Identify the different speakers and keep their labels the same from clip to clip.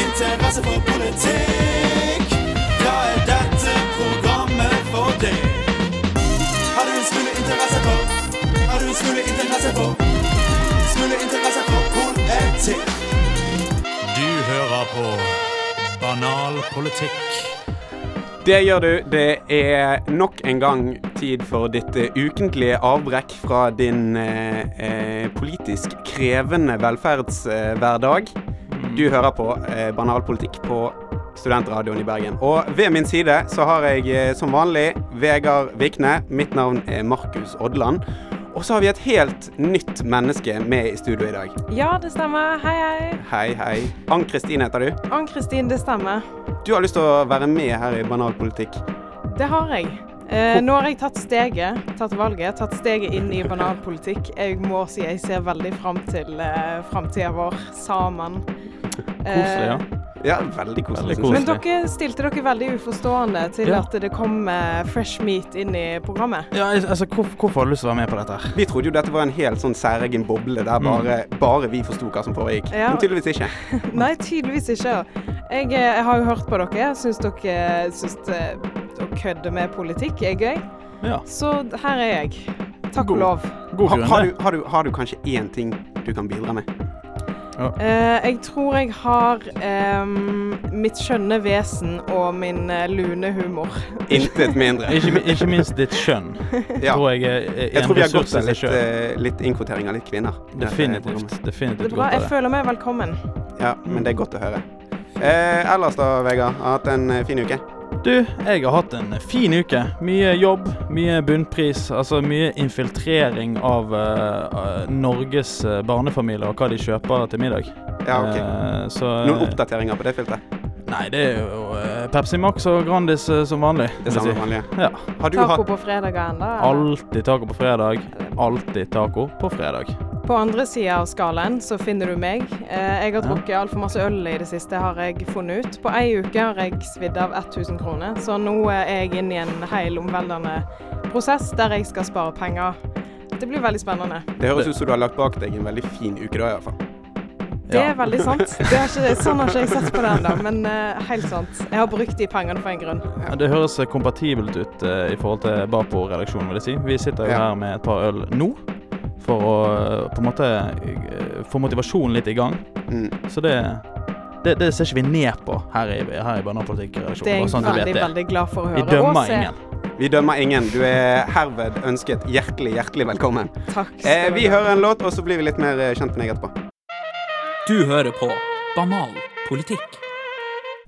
Speaker 1: interesse for politikk, da er dette programmet for deg. Har du en smule interesse for? Har du en smule interesse for? Smule interesse for politikk. Du hører på Banal politikk.
Speaker 2: Det gjør du. Det er nok en gang tid for ditt eh, ukentlige avbrekk fra din eh, eh, politisk krevende velferdshverdag. Du hører på eh, banalpolitikk på Studentradioen i Bergen. Og ved min side så har jeg eh, som vanlig Vegard Vikne. Mitt navn er Markus Odland. Og så har vi et helt nytt menneske med i studio i dag.
Speaker 3: Ja, det stemmer. Hei, hei.
Speaker 2: Hei, hei. Ann-Kristin heter du.
Speaker 3: Ann-Kristin, det stemmer.
Speaker 2: Du har lyst til å være med her i Banalpolitikk.
Speaker 3: Det har jeg. Eh, nå har jeg tatt steget, tatt valget, tatt steget inn i banalpolitikk. Jeg må si jeg ser veldig fram til eh, framtida vår sammen. Eh,
Speaker 4: Koselig, ja.
Speaker 2: Ja, veldig koselig.
Speaker 4: Veldig
Speaker 2: synes jeg.
Speaker 3: Men dere stilte dere veldig uforstående til
Speaker 4: Ja.
Speaker 3: at det kom eh, fresh meat inn i programmet.
Speaker 4: Ja, al- altså, hvor, hvorfor har du lyst til å være med på dette her?
Speaker 2: Vi trodde jo dette var en helt sånn særegen boble
Speaker 4: Mm.
Speaker 2: der bare, bare vi forsto hva som foregikk.
Speaker 3: Ja.
Speaker 2: Men tydeligvis ikke.
Speaker 3: Nei, tydeligvis ikke. Jeg, eh, jeg har jo hørt på dere. Jeg syns dere syns eh, å kødde med politikk er gøy.
Speaker 4: Ja.
Speaker 3: Så her er jeg. Takk
Speaker 4: God.
Speaker 3: og lov.
Speaker 4: God
Speaker 2: Har,
Speaker 4: grunn,
Speaker 2: har,
Speaker 4: det.
Speaker 2: du, har, du, har du kanskje én ting du kan bidra med?
Speaker 3: Eh, jeg tror jeg har ehm, mitt skjønne vesen og min eh, lune humor.
Speaker 2: Intet mindre.
Speaker 4: Ikke, mi- ikke minst ditt kjønn.
Speaker 2: Ja.
Speaker 4: Tror jeg er er
Speaker 2: Jeg
Speaker 4: en
Speaker 2: tror vi har gått
Speaker 4: ressurs
Speaker 2: av
Speaker 4: i seg
Speaker 2: litt,
Speaker 4: selv.
Speaker 2: eh, litt innkvotering av litt kvinner. i dette
Speaker 4: Definitivt.
Speaker 2: programmet.
Speaker 3: Det
Speaker 4: definitivt
Speaker 3: er bra.
Speaker 4: godt av
Speaker 3: Jeg føler meg velkommen.
Speaker 2: Ja, men det er godt å høre. Eh, ellers da, Vegard. Har hatt en eh, fin uke.
Speaker 4: Du, jeg har hatt en eh, fin uke. Mye jobb, mye bunnpris. Altså mye infiltrering av eh, eh, Norges eh, barnefamilier og hva de kjøper til middag.
Speaker 2: Ja, ok.
Speaker 4: Eh, så
Speaker 2: Noen oppdateringer på det filteret?
Speaker 4: Nei, det er jo eh, Pepsi Max og Grandis eh, som vanlig.
Speaker 2: Det
Speaker 4: vil
Speaker 2: samme
Speaker 4: jeg si.
Speaker 2: vanlige.
Speaker 4: Ja.
Speaker 2: Har du
Speaker 3: Taco
Speaker 2: hatt
Speaker 3: på fredagen, da. eller?
Speaker 4: Alltid taco på fredag. Alltid taco på fredag.
Speaker 3: På andre sida av skalaen så finner du meg. Eh, jeg har
Speaker 4: Ja.
Speaker 3: drukket altfor masse øl i det siste, har jeg funnet ut. På ei uke har jeg svidd av 1000 kroner, så nå eh, er jeg inne i en hel omveldende prosess der jeg skal spare penger. Det blir veldig spennende.
Speaker 2: Det høres ut som du har lagt bak deg en veldig fin uke da, i hvert fall.
Speaker 3: Det er veldig sant. Det er ikke, sånn har ikke jeg sett på det ennå, men eh, helt sant. Jeg har brukt de pengene for en grunn.
Speaker 4: Ja, Det høres eh, kompatibelt ut eh, i forhold til Bapo-redaksjonen, vil jeg si. Vi sitter jo
Speaker 2: Ja.
Speaker 4: her med et par øl nå for å eh, på en måte eh, få motivasjonen litt i gang.
Speaker 2: Mm.
Speaker 4: Så det, det, det ser ikke vi ned på her i, her i Bananpolitikk-redaksjonen.
Speaker 3: Det er
Speaker 4: bare
Speaker 3: jeg
Speaker 4: sånn du vet
Speaker 3: veldig,
Speaker 4: det.
Speaker 3: veldig glad for å høre.
Speaker 4: Vi
Speaker 3: og
Speaker 4: dømmer
Speaker 3: se.
Speaker 4: ingen.
Speaker 2: Vi dømmer ingen. Du er herved ønsket hjertelig, hjertelig velkommen.
Speaker 3: Takk. skal
Speaker 2: Eh,
Speaker 3: du
Speaker 2: vi
Speaker 3: ha.
Speaker 2: hører en låt, og så blir vi litt mer eh, kjent med deg etterpå.
Speaker 5: Du hører på Banal politikk.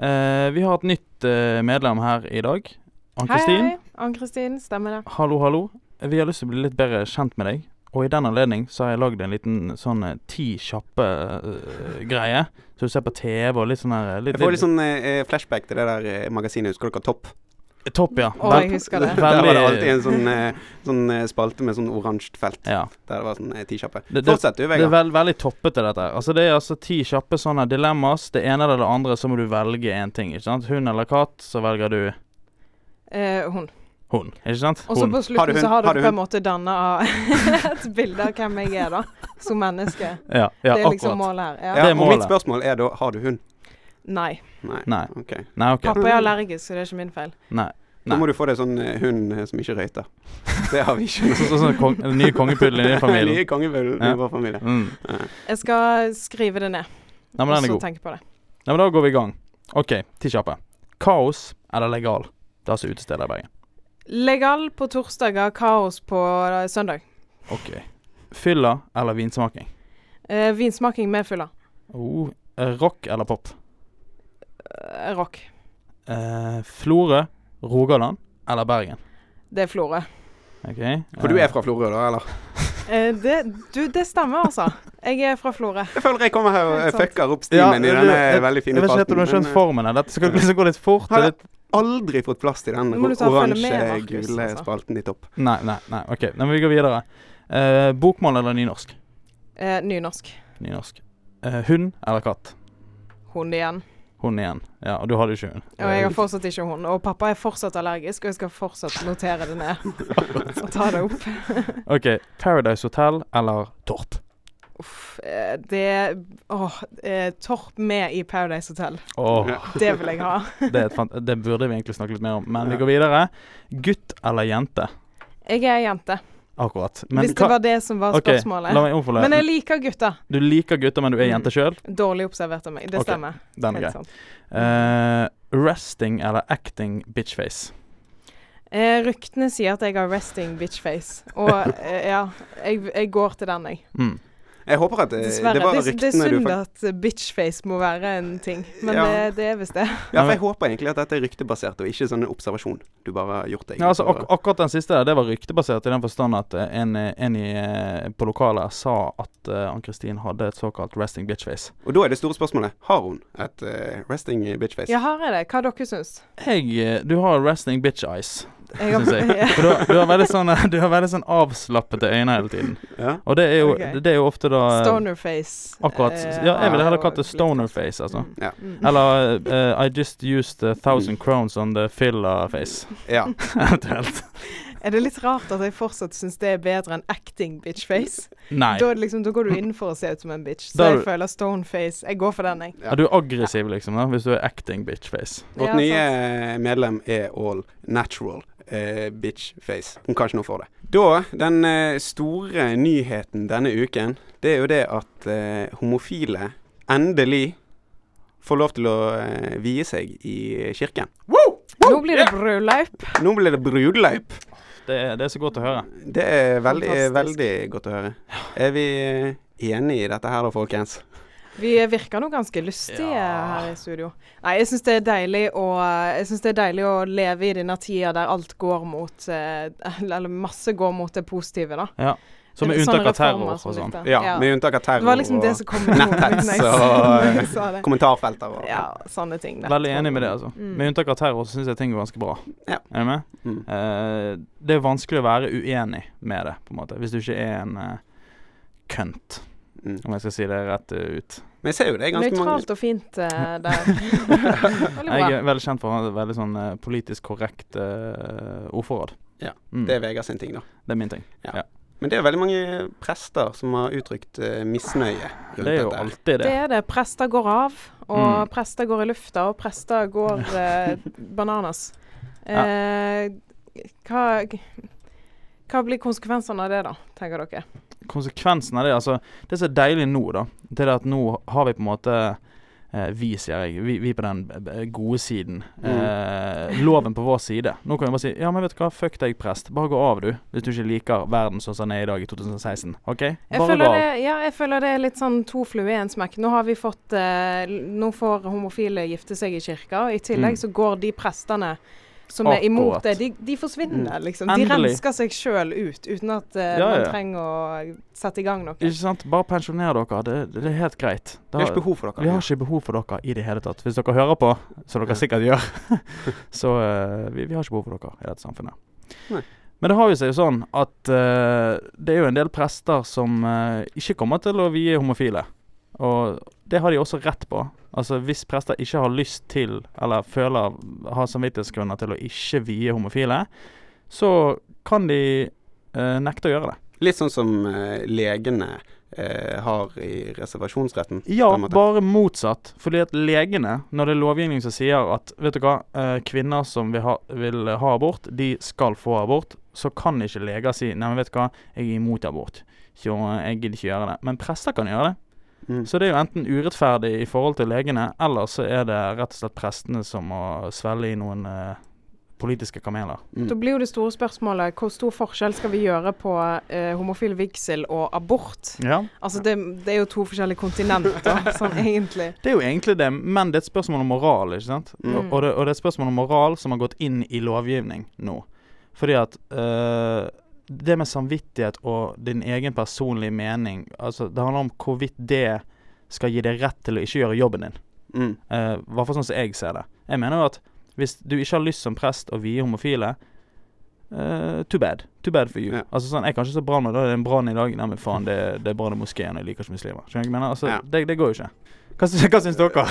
Speaker 4: Eh, vi har et nytt eh, medlem her i dag.
Speaker 3: Hei,
Speaker 4: Ann-Kristin.
Speaker 3: hei. Ann-Kristin, stemmer det.
Speaker 4: Hallo, hallo. Vi har lyst til å bli litt bedre kjent med deg. Og i den anledning så har jeg lagd en liten sånn eh, ti kjappe eh, greie. Så du ser på TV og litt sånn her eh, litt,
Speaker 2: Jeg får litt sånn eh, flashback til det der eh, magasinet. Husker dere Topp?
Speaker 4: Topp, ja.
Speaker 3: Å, jeg husker det.
Speaker 2: Der var det alltid
Speaker 4: Veldig
Speaker 2: en sånn, eh, sånn eh, spalte med sånn oransje felt.
Speaker 4: ja.
Speaker 2: Der det var sånn eh, ti kjappe.
Speaker 4: Det- det-
Speaker 2: Fortsett du,
Speaker 4: Det er
Speaker 2: Vegard.
Speaker 4: vel- veldig toppete, dette. her. Altså Det er altså ti kjappe sånne dilemmas. Det ene eller det andre, så må du velge én ting. ikke sant? Hund eller katt, så velger du
Speaker 3: Eh, hun.
Speaker 4: hund. Ikke sant?
Speaker 3: Og så
Speaker 4: Hund.
Speaker 3: på
Speaker 2: Har du
Speaker 3: slutten
Speaker 2: hun?
Speaker 3: så har
Speaker 2: Har
Speaker 3: dere
Speaker 2: du
Speaker 3: på
Speaker 2: hun?
Speaker 3: en måte danna et bilde av hvem jeg er, da. Som menneske.
Speaker 4: Ja, ja
Speaker 3: det er liksom
Speaker 4: akkurat.
Speaker 3: målet her. Ja.
Speaker 2: Ja,
Speaker 4: det er
Speaker 2: og mitt
Speaker 4: målet.
Speaker 2: spørsmål er da har du hund?
Speaker 3: Nei.
Speaker 2: Nei.
Speaker 4: Nei.
Speaker 2: Ok.
Speaker 4: Nei, OK.
Speaker 3: Pappa er allergisk, så det er ikke min feil.
Speaker 4: Nei.
Speaker 2: Da
Speaker 4: Nei.
Speaker 2: må du få deg sånn eh, hund eh, som ikke røyter. Det har vi ikke.
Speaker 4: Sånn som sånn, kong, nye kongepuddel i din familie.
Speaker 2: Nye kongepudel
Speaker 4: Ja.
Speaker 2: i vår familie.
Speaker 4: Mm.
Speaker 3: Jeg skal skrive det ned,
Speaker 4: Nei, men
Speaker 3: og
Speaker 4: den er
Speaker 3: så
Speaker 4: god.
Speaker 3: tenke på det.
Speaker 4: Nei, men Da går vi i gang. OK, ti kjappe. Kaos eller legal? Det er altså utesteder i Bergen.
Speaker 3: Legal på torsdager, kaos på eh, søndag.
Speaker 4: OK. Fylla eller vinsmaking?
Speaker 3: Eh, vinsmaking med fylla.
Speaker 4: Oh, eh, rock eller pop?
Speaker 3: Eh, rock.
Speaker 4: Eh, Florø, Rogaland eller Bergen?
Speaker 3: Det er Florø.
Speaker 4: OK.
Speaker 2: For du
Speaker 4: eh,
Speaker 2: er fra Florø, da, eller?
Speaker 3: Eh, det, du, det stemmer, altså. Jeg er fra Florø.
Speaker 2: Jeg føler jeg kommer her og
Speaker 3: Helt
Speaker 2: eh,
Speaker 3: sant.
Speaker 2: fucker opp
Speaker 4: Ja,
Speaker 2: stimen i
Speaker 4: det-
Speaker 2: denne veldig
Speaker 4: Jeg
Speaker 2: fine
Speaker 4: vet ikke helt om du har
Speaker 2: men,
Speaker 4: skjønt
Speaker 2: eh,
Speaker 4: formen her. Dette skal liksom gå litt fort.
Speaker 2: Har
Speaker 4: og Litt...
Speaker 2: aldri fått plass til den
Speaker 3: Nå må du ta og følge med, Markus,
Speaker 2: oransje-gule
Speaker 3: altså.
Speaker 2: spalten i topp.
Speaker 4: Nei, nei, nei. OK, Nei, men vi går videre. Eh, bokmål eller nynorsk?
Speaker 3: Eh, nynorsk.
Speaker 4: Nynorsk. Eh, hund eller katt?
Speaker 3: Hund igjen.
Speaker 4: Hund igjen. Ja, og du hadde jo ikke hund.
Speaker 3: Og jeg har fortsatt ikke hund. Og pappa er fortsatt allergisk, og jeg skal fortsatt notere det ned. og ta det opp.
Speaker 4: OK. Paradise Hotel eller Torp?
Speaker 3: Uff. eh, Det Åh. eh, Torp med i Paradise Hotel.
Speaker 4: Åh,
Speaker 2: Ja.
Speaker 3: Det vil jeg ha.
Speaker 4: det, er et fant det burde vi egentlig snakke litt mer om, men
Speaker 2: Ja.
Speaker 4: vi går videre. Gutt eller jente?
Speaker 3: Jeg er jente,
Speaker 4: Akkurat. Men
Speaker 3: hvis det var det som var
Speaker 4: Ok,
Speaker 3: spørsmålet.
Speaker 4: La meg omformulere.
Speaker 3: Men jeg liker gutter.
Speaker 4: Du liker gutter, men du er
Speaker 3: Mm.
Speaker 4: jente sjøl?
Speaker 3: Dårlig observert av meg. Det
Speaker 4: Ok,
Speaker 3: stemmer.
Speaker 4: Den er
Speaker 3: Helt
Speaker 4: grei.
Speaker 3: sant.
Speaker 4: Eh, resting eller acting bitchface?
Speaker 3: Eh, ryktene sier at jeg har resting bitchface. Og eh, ja, jeg, jeg går til den, jeg.
Speaker 4: Mm.
Speaker 2: Jeg håper at eh, det,
Speaker 3: Dessverre.
Speaker 2: det var
Speaker 3: Det, det er
Speaker 2: ryktene du
Speaker 3: synd
Speaker 2: fikk.
Speaker 3: at bitchface må være en ting, men
Speaker 2: Ja.
Speaker 3: det, det er visst det.
Speaker 2: Ja, for jeg håper egentlig at dette er ryktebasert, og ikke sånn en observasjon du bare har gjort deg.
Speaker 4: Ja, altså,
Speaker 2: for-
Speaker 4: ak akkurat den siste der, det var ryktebasert i den forstand at eh, en, en i, eh, på lokalet sa at eh, Ann-Kristin hadde et såkalt resting bitchface.
Speaker 2: og da er det store spørsmålet har hun et eh, resting bitchface.
Speaker 3: Ja, har jeg det? Hva dere syns?
Speaker 4: Jeg, eh, du har resting bitch eyes,
Speaker 3: Jeg
Speaker 4: syns jeg. For du, har- du har veldig sånn, eh, du har veldig sånn avslappede øyne hele tiden.
Speaker 2: Ja.
Speaker 4: Og det er jo,
Speaker 3: Ok.
Speaker 4: det er jo ofte da eh,
Speaker 3: Stonerface.
Speaker 4: Akkurat.
Speaker 3: eh,
Speaker 4: Ja, jeg ville heller kalt det
Speaker 3: sånn.
Speaker 4: stonerface, altså.
Speaker 3: Mm.
Speaker 4: Eller eh, I just used a thousand crowns on the filler face.
Speaker 2: ja.
Speaker 4: Eventuelt.
Speaker 3: Er det litt rart at jeg fortsatt syns det er bedre enn acting bitchface?
Speaker 4: Nei.
Speaker 3: Da, er det liksom, da går du inn for å se ut som en bitch. Så
Speaker 4: Da er
Speaker 3: jeg
Speaker 4: du-
Speaker 3: føler stoneface. Jeg går for den, jeg.
Speaker 4: Ja, du er aggressiv, liksom, da, hvis du er acting bitchface.
Speaker 2: Vårt
Speaker 3: Ja,
Speaker 2: nye eh,
Speaker 3: sant.
Speaker 2: medlem er all natural eh, bitchface. Hun kan ikke noe for det. Da, den eh, store nyheten denne uken, det er jo det at eh, homofile endelig får lov til å eh, vie seg i kirken.
Speaker 3: Nå blir det bryllup.
Speaker 2: Nå blir det brudeløp.
Speaker 4: Det er, det er så godt å høre.
Speaker 2: Det er veldig,
Speaker 3: Fantastisk.
Speaker 2: veldig godt å høre. Er vi eh, enige i dette her da, folkens?
Speaker 3: Vi virker nå ganske lystige
Speaker 4: Ja.
Speaker 3: her i studio. Nei, jeg syns det, er deilig å- jeg synes det er deilig å leve i denne tida der alt går mot eh, Eller masse går mot det positive, da.
Speaker 4: Som
Speaker 3: Sånne
Speaker 4: med unntak av
Speaker 3: reformer
Speaker 4: terror og
Speaker 3: som
Speaker 4: sånn.
Speaker 3: dette.
Speaker 2: Ja, med unntak av
Speaker 3: Det var
Speaker 2: terror
Speaker 3: liksom det som kom i
Speaker 2: netthets og, eh, og kommentarfelter. Og,
Speaker 3: Ja, sånne ting. der.
Speaker 4: Veldig enig med det, altså.
Speaker 3: Mm.
Speaker 4: Med unntak av terror så syns jeg ting går ganske bra.
Speaker 2: Ja.
Speaker 4: Er du med?
Speaker 2: Mm.
Speaker 4: Eh, det er vanskelig å være uenig med det, på en måte. Hvis du ikke er en eh, kønt,
Speaker 2: Mm.
Speaker 4: om jeg skal si det rett eh, ut.
Speaker 2: Men jeg ser jo det er ganske mange
Speaker 3: Nøytralt og fint eh, der. Veldig bra.
Speaker 4: Jeg er veldig kjent for å ha et veldig sånn eh, politisk korrekt eh, ordforråd.
Speaker 2: Ja,
Speaker 4: Mm.
Speaker 2: Det er Vegard sin ting, da.
Speaker 4: det er min ting.
Speaker 2: Men det er veldig mange prester som har uttrykt eh, misnøye rundt
Speaker 4: Det er jo
Speaker 2: dette.
Speaker 4: alltid
Speaker 3: Det
Speaker 4: det.
Speaker 3: er det. Prester går av, og
Speaker 4: Mm.
Speaker 3: prester går i lufta, og prester går eh, bananas. Eh, hva, hva blir konsekvensene av det, da, tenker dere?
Speaker 4: Konsekvensen av det, altså Det som er deilig nå, da, det er at nå har vi på en måte eh, vi, sier jeg. Vi, vi på den b- b- gode siden.
Speaker 3: Mm.
Speaker 4: Eh, loven på vår side. Nå kan vi bare si Ja, men vet du hva, fuck deg, prest. Bare gå av, du. Hvis du ikke liker verden sånn som den er i dag i 2016. OK?
Speaker 3: Jeg
Speaker 4: Bare
Speaker 3: føler,
Speaker 4: gå av.
Speaker 3: det, ja, jeg føler det er litt sånn to fluer i en smekk. Nå har vi fått eh, l- Nå får homofile gifte seg i kirka, og i tillegg
Speaker 4: Mm.
Speaker 3: så går de prestene som er
Speaker 4: Akkurat. Mm.
Speaker 3: imot det, de, de forsvinner, liksom. De
Speaker 4: Endelig.
Speaker 3: rensker seg sjøl ut, uten at eh,
Speaker 4: Ja,
Speaker 3: man
Speaker 4: ja.
Speaker 3: trenger å sette i gang noe.
Speaker 4: Ikke sant? Bare pensjoner dere. Det, det er helt greit.
Speaker 2: Det er ikke behov for dere.
Speaker 4: Vi har ikke behov for dere i det hele tatt. Hvis dere hører på, som dere sikkert gjør, så eh, vi, vi har ikke behov for dere i dette samfunnet.
Speaker 2: Nei.
Speaker 4: Men det har jo seg jo sånn at eh, det er jo en del prester som eh, ikke kommer til å vie homofile. Og det har de også rett på. Altså hvis prester ikke har lyst til, eller føler har samvittighetsgrunner til å ikke vie homofile, så kan de eh, nekte å gjøre det.
Speaker 2: Litt sånn som eh, legene eh, har i reservasjonsretten. på
Speaker 4: Ja,
Speaker 2: en måte.
Speaker 4: bare motsatt. Fordi at legene, når det er lovgivning som sier at vet du hva, eh, kvinner som vil ha, vil ha abort, de skal få abort, så kan ikke leger si nei, men vet du hva, jeg er imot abort, så eh, jeg gidder ikke gjøre det. Men prester kan gjøre det.
Speaker 2: Mm.
Speaker 4: Så det er jo enten urettferdig i forhold til legene, eller så er det rett og slett prestene som må svelge i noen eh, politiske kameler.
Speaker 2: Mm.
Speaker 3: Da blir jo det store spørsmålet hvor stor forskjell skal vi gjøre på eh, homofil vigsel og abort?
Speaker 4: Ja.
Speaker 3: Altså det, det er jo to forskjellige kontinenter, sånn egentlig.
Speaker 4: Det er jo egentlig det, men det er et spørsmål om moral. ikke sant?
Speaker 2: Mm.
Speaker 4: Og, og, det, og det er et spørsmål om moral som har gått inn i lovgivning nå. Fordi at øh, det med samvittighet og din egen personlige mening altså Det handler om hvorvidt det skal gi deg rett til å ikke gjøre jobben din.
Speaker 2: Mm.
Speaker 4: Eh, I hvert fall sånn som jeg ser det. Jeg mener jo at hvis du ikke har lyst som prest å vie homofile eh, too bad. Too bad for you.
Speaker 2: Ja.
Speaker 4: Altså sånn, Jeg kan ikke så brann, og da er det en brann i dag. Nei, men faen, det, det er brann i moskeen, og jeg liker ikke muslimer. Skjønner du hva jeg mener? Altså,
Speaker 2: Ja.
Speaker 4: det, det går jo ikke. Hva, sy- hva syns dere?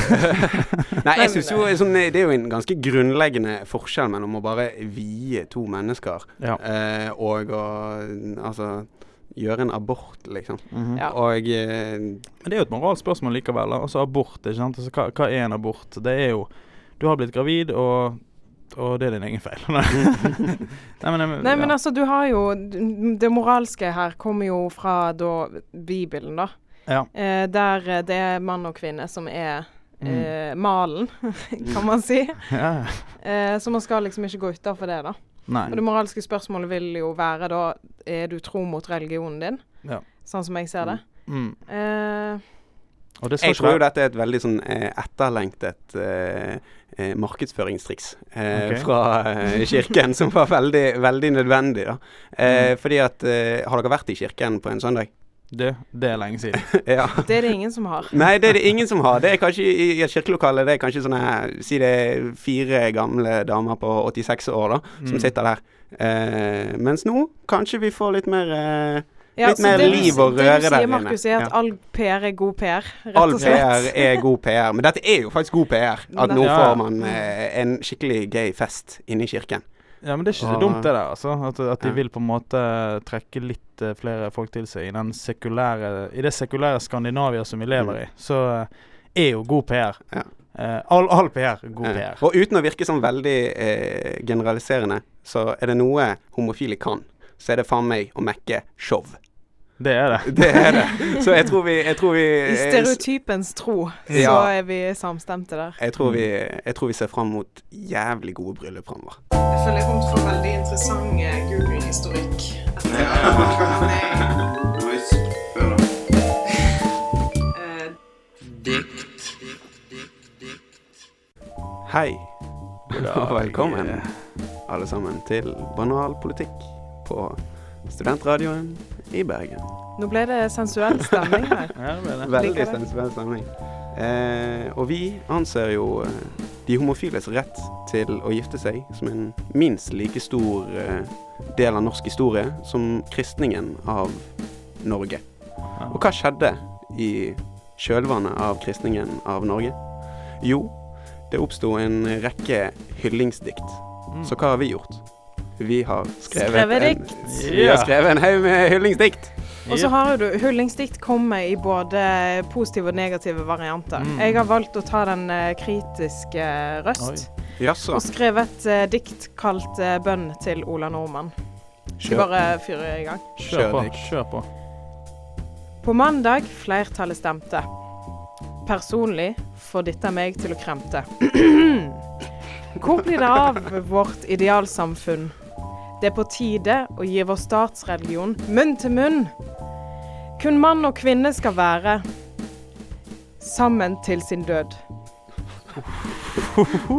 Speaker 2: Nei, jeg synes jo sånn, eh, Det er jo en ganske grunnleggende forskjell mellom å bare vie to mennesker
Speaker 4: Ja.
Speaker 2: eh, og å Altså gjøre en abort, liksom.
Speaker 4: Mhm.
Speaker 3: Ja.
Speaker 2: Og eh,
Speaker 4: Men det er jo et moralsk spørsmål likevel. da. Altså abort, ikke sant. Altså, hva, hva er en abort? Det er jo Du har blitt gravid, og, og det er din egen feil. Nei, men, jeg-
Speaker 3: Nei, men
Speaker 4: ja.
Speaker 3: altså, du har jo Det moralske her kommer jo fra da Bibelen, da.
Speaker 4: Ja.
Speaker 3: Eh, der eh, det er mann og kvinne som er
Speaker 2: Mm.
Speaker 3: eh, malen, kan man si.
Speaker 4: ja.
Speaker 3: Eh, så man skal liksom ikke gå utafor det, da.
Speaker 4: Nei.
Speaker 2: Mm.
Speaker 3: Og det moralske spørsmålet vil jo være da Er du tro mot religionen din?
Speaker 4: Ja.
Speaker 3: Sånn som jeg ser det.
Speaker 4: Mm.
Speaker 3: Eh,
Speaker 4: Og det skal
Speaker 2: jeg
Speaker 4: ikke
Speaker 2: tror jo
Speaker 4: være-
Speaker 2: dette er et veldig sånn eh, etterlengtet eh, eh, markedsføringstriks eh,
Speaker 4: Ok.
Speaker 2: fra eh, kirken, som var veldig, veldig nødvendig, da. Eh, Fordi at eh, Har dere vært i kirken på en søndag?
Speaker 4: Det, det er lenge siden.
Speaker 2: ja.
Speaker 3: det er det ingen som har.
Speaker 2: Nei, det er det ingen som har. Det er kanskje i i et kirkelokale det er kanskje sånne Si det er fire gamle damer på 86 år da, som
Speaker 4: Mm.
Speaker 2: sitter der. Eh, mens nå kanskje vi får litt mer eh, Litt
Speaker 3: så
Speaker 2: mer
Speaker 3: det du-
Speaker 2: liv og
Speaker 3: Det
Speaker 2: røre
Speaker 3: du
Speaker 2: der
Speaker 3: sier,
Speaker 2: inne.
Speaker 3: Markus, er at
Speaker 2: Ja.
Speaker 3: all PR er god PR, rett
Speaker 2: All
Speaker 3: og
Speaker 2: PR
Speaker 3: slett.
Speaker 2: er god PR. Men dette er jo faktisk god PR. At nå
Speaker 3: Nettopp.
Speaker 4: Ja, ja.
Speaker 2: får man eh, en skikkelig gay fest inne i kirken.
Speaker 4: Ja, men det er ikke så
Speaker 2: Og-
Speaker 4: dumt, det der. altså. At, at de
Speaker 2: Ja.
Speaker 4: vil på en måte trekke litt eh, flere folk til seg i, den sekulære, i det sekulære Skandinavia som vi lever i. Så eh, er jo god PR.
Speaker 2: Mm. Ja.
Speaker 4: Eh, all, all PR er god
Speaker 2: Eh,
Speaker 4: PR.
Speaker 2: og uten å virke sånn veldig eh, generaliserende, så er det noe homofile kan, så er det faen meg å mekke show.
Speaker 4: Det er det.
Speaker 2: Det er det. Så jeg tror vi, jeg tror vi eh,
Speaker 3: I stereotypens tro, så
Speaker 2: Ja.
Speaker 3: er vi samstemte der.
Speaker 2: Jeg tror, vi, jeg tror vi ser fram mot jævlig gode bryllup framover.
Speaker 3: Jeg føler jeg kommer til å få veldig interessant eh, Google-historikk. Eh,
Speaker 2: Hei, og velkommen
Speaker 4: eh,
Speaker 2: alle sammen til Banal politikk på studentradioen i Bergen.
Speaker 3: Nå ble det sensuell stemning her.
Speaker 4: Ja, det er det.
Speaker 2: Veldig
Speaker 3: Liker det.
Speaker 2: sensuell stemning. Eh, og vi anser jo eh, de homofiles rett til å gifte seg som en minst like stor eh, del av norsk historie som kristningen av Norge. Og hva skjedde i kjølvannet av kristningen av Norge? Jo, det oppsto en rekke hyllingsdikt.
Speaker 4: Mm.
Speaker 2: Så hva har vi gjort? Vi har skrevet,
Speaker 3: Skrevet
Speaker 2: en,
Speaker 3: dikt.
Speaker 2: vi har skrevet en haug med hyllingsdikt.
Speaker 3: Og så har jo du Hullingsdikt kommer i både positive og negative varianter.
Speaker 4: Mm.
Speaker 3: Jeg har valgt å ta den eh, kritiske eh, røst.
Speaker 2: Jaså.
Speaker 3: Og skrevet et eh, dikt kalt eh, 'Bønn til Ola Nordmann'. Skal
Speaker 2: Kjør.
Speaker 3: bare fyre i gang.
Speaker 4: Kjør på.
Speaker 2: Dick.
Speaker 4: Kjør på.
Speaker 3: På mandag flertallet stemte. Personlig får dette meg til å kremte. Hvor blir det av vårt idealsamfunn? Det er på tide å gi vår statsreligion munn til munn. Kun mann og kvinne skal være sammen til sin død.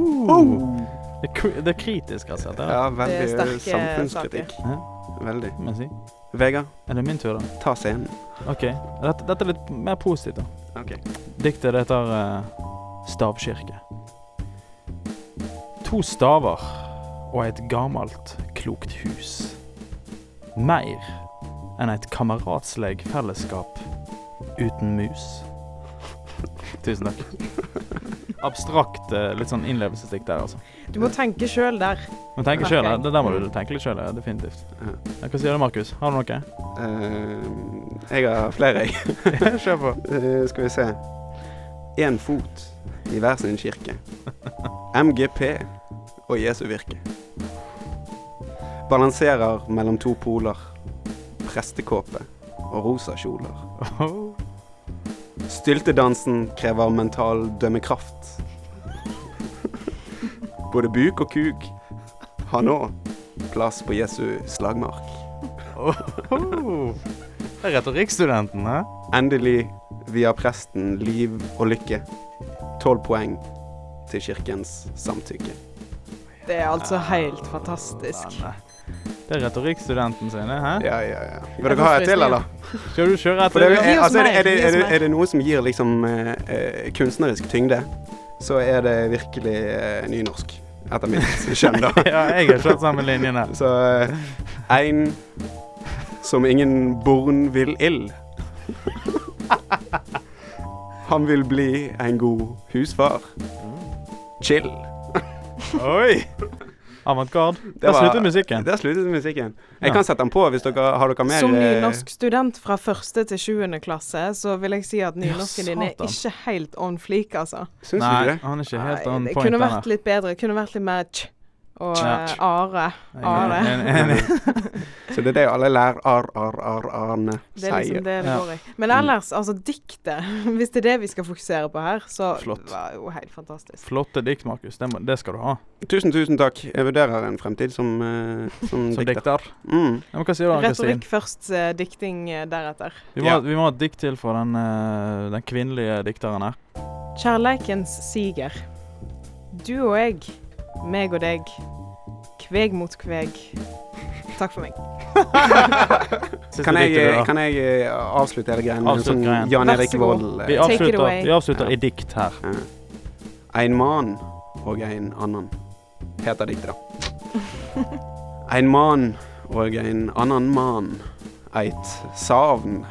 Speaker 4: Det, er kri- det er kritisk, altså. Det er,
Speaker 2: Ja, veldig eh,
Speaker 3: Det er sterke
Speaker 2: samfunnskritikk.
Speaker 4: saker.
Speaker 2: Veldig.
Speaker 4: må jeg si.
Speaker 2: Vegard,
Speaker 4: Er det min tur, da?
Speaker 2: ta scenen.
Speaker 4: OK. Dette, dette er litt mer positivt, da.
Speaker 2: Ok.
Speaker 4: Diktet det heter eh, Stavkirke. To staver og et gammelt, klokt hus. Mer enn et kameratsleg fellesskap uten mus. Tusen takk. Abstrakt, eh, litt sånn innlevelsesdikt der, altså.
Speaker 3: Du må tenke sjøl der.
Speaker 4: Men tenk
Speaker 3: Ok.
Speaker 4: sjøl, det der må du tenke litt sjøl, definitivt. Ja, Hva sier du, Markus? Har du noe?
Speaker 2: Eh, jeg har flere, jeg.
Speaker 4: Kjør på.
Speaker 2: Eh, skal vi se. Én fot i hver sin kirke. MGP og Jesu virke. Balanserer mellom to poler. Prestekåpe og rosa kjoler. Styltedansen krever mental dømmekraft. Både buk og kuk har nå plass på Jesu slagmark.
Speaker 4: Det er retorikkstudenten, hæ?
Speaker 2: Endelig, via presten, liv og lykke. Tolv poeng til kirkens samtykke.
Speaker 3: Det er altså helt fantastisk.
Speaker 4: Nei. Det er retorikkstudenten sin, det, hæ?
Speaker 2: Ja, ja, ja. Vil dere ha et til, eller?
Speaker 4: Skal du kjøre
Speaker 2: For
Speaker 4: etter?
Speaker 2: det,
Speaker 4: det?
Speaker 2: er, altså,
Speaker 3: Gi oss mer,
Speaker 2: er, det, er, det, er, det,
Speaker 3: gi oss mer.
Speaker 2: er det noe som gir liksom eh, eh, kunstnerisk tyngde, så er det virkelig eh, nynorsk. Etter mitt skjønn, da.
Speaker 4: Ja, jeg har kjørt samme linjen her.
Speaker 2: Så eh, ein som ingen born vil ild. Han vil bli en god husfar. Chill.
Speaker 4: Oi! Avantgarde.
Speaker 2: Det
Speaker 4: Der
Speaker 2: var-
Speaker 4: sluttet musikken.
Speaker 2: Der sluttet musikken. Jeg
Speaker 4: Ja.
Speaker 2: kan sette den på hvis dere har dere mer
Speaker 3: Som
Speaker 2: eh,
Speaker 3: nynorsk student fra første til sjuende klasse, så vil jeg si at nynorsken din er
Speaker 4: satan.
Speaker 3: ikke helt on fleak, altså.
Speaker 2: Syns du
Speaker 4: Nei,
Speaker 2: det?
Speaker 4: han er ikke helt
Speaker 3: Nei,
Speaker 4: on
Speaker 3: det
Speaker 4: point.
Speaker 3: kunne
Speaker 4: den
Speaker 3: vært
Speaker 4: der.
Speaker 3: litt bedre. Kunne vært litt mer tj og
Speaker 4: Ja.
Speaker 3: eh, are.
Speaker 4: Jeg
Speaker 3: Are.
Speaker 4: er enig.
Speaker 2: Så det er det alle lærer ar, ar, ar, arne
Speaker 3: Det er liksom
Speaker 2: sier.
Speaker 3: det det
Speaker 4: Ja. Mm.
Speaker 3: går i. Men ellers, altså diktet, hvis det er det vi skal fokusere på her, så
Speaker 4: Flott.
Speaker 3: var det jo helt fantastisk.
Speaker 4: Flotte dikt, Markus. Det, må, det skal du ha
Speaker 2: Tusen, tusen takk. Jeg vurderer en fremtid som, eh, som,
Speaker 4: som
Speaker 2: dikter.
Speaker 4: dikter.
Speaker 2: Mm.
Speaker 4: Ja, men hva sier du, Ann-Kristin?
Speaker 3: Retorikk først, eh, dikting eh, deretter.
Speaker 4: Vi, må-
Speaker 2: Ja.
Speaker 4: vi må ha et dikt til fra den, eh, den kvinnelige dikteren her.
Speaker 3: Kjærleikens siger. Du og jeg, meg og deg, kveg mot kveg. Takk for meg.
Speaker 4: Siste
Speaker 2: Kan jeg,
Speaker 4: diktet du
Speaker 2: eh,
Speaker 4: har.
Speaker 2: kan jeg eh, avslutte hele greien med en
Speaker 4: Avslutt
Speaker 2: sånn
Speaker 4: greien.
Speaker 2: Jan
Speaker 3: Vær
Speaker 2: Erik
Speaker 3: så god.
Speaker 2: Vold?
Speaker 4: Vi
Speaker 2: eh,
Speaker 3: Take it
Speaker 4: avslutter,
Speaker 3: away.
Speaker 4: vi avslutter
Speaker 2: Ja.
Speaker 4: i dikt her.
Speaker 2: Ein mann og ein annan, heter diktet da. Ein mann og ein annan mann, eit savn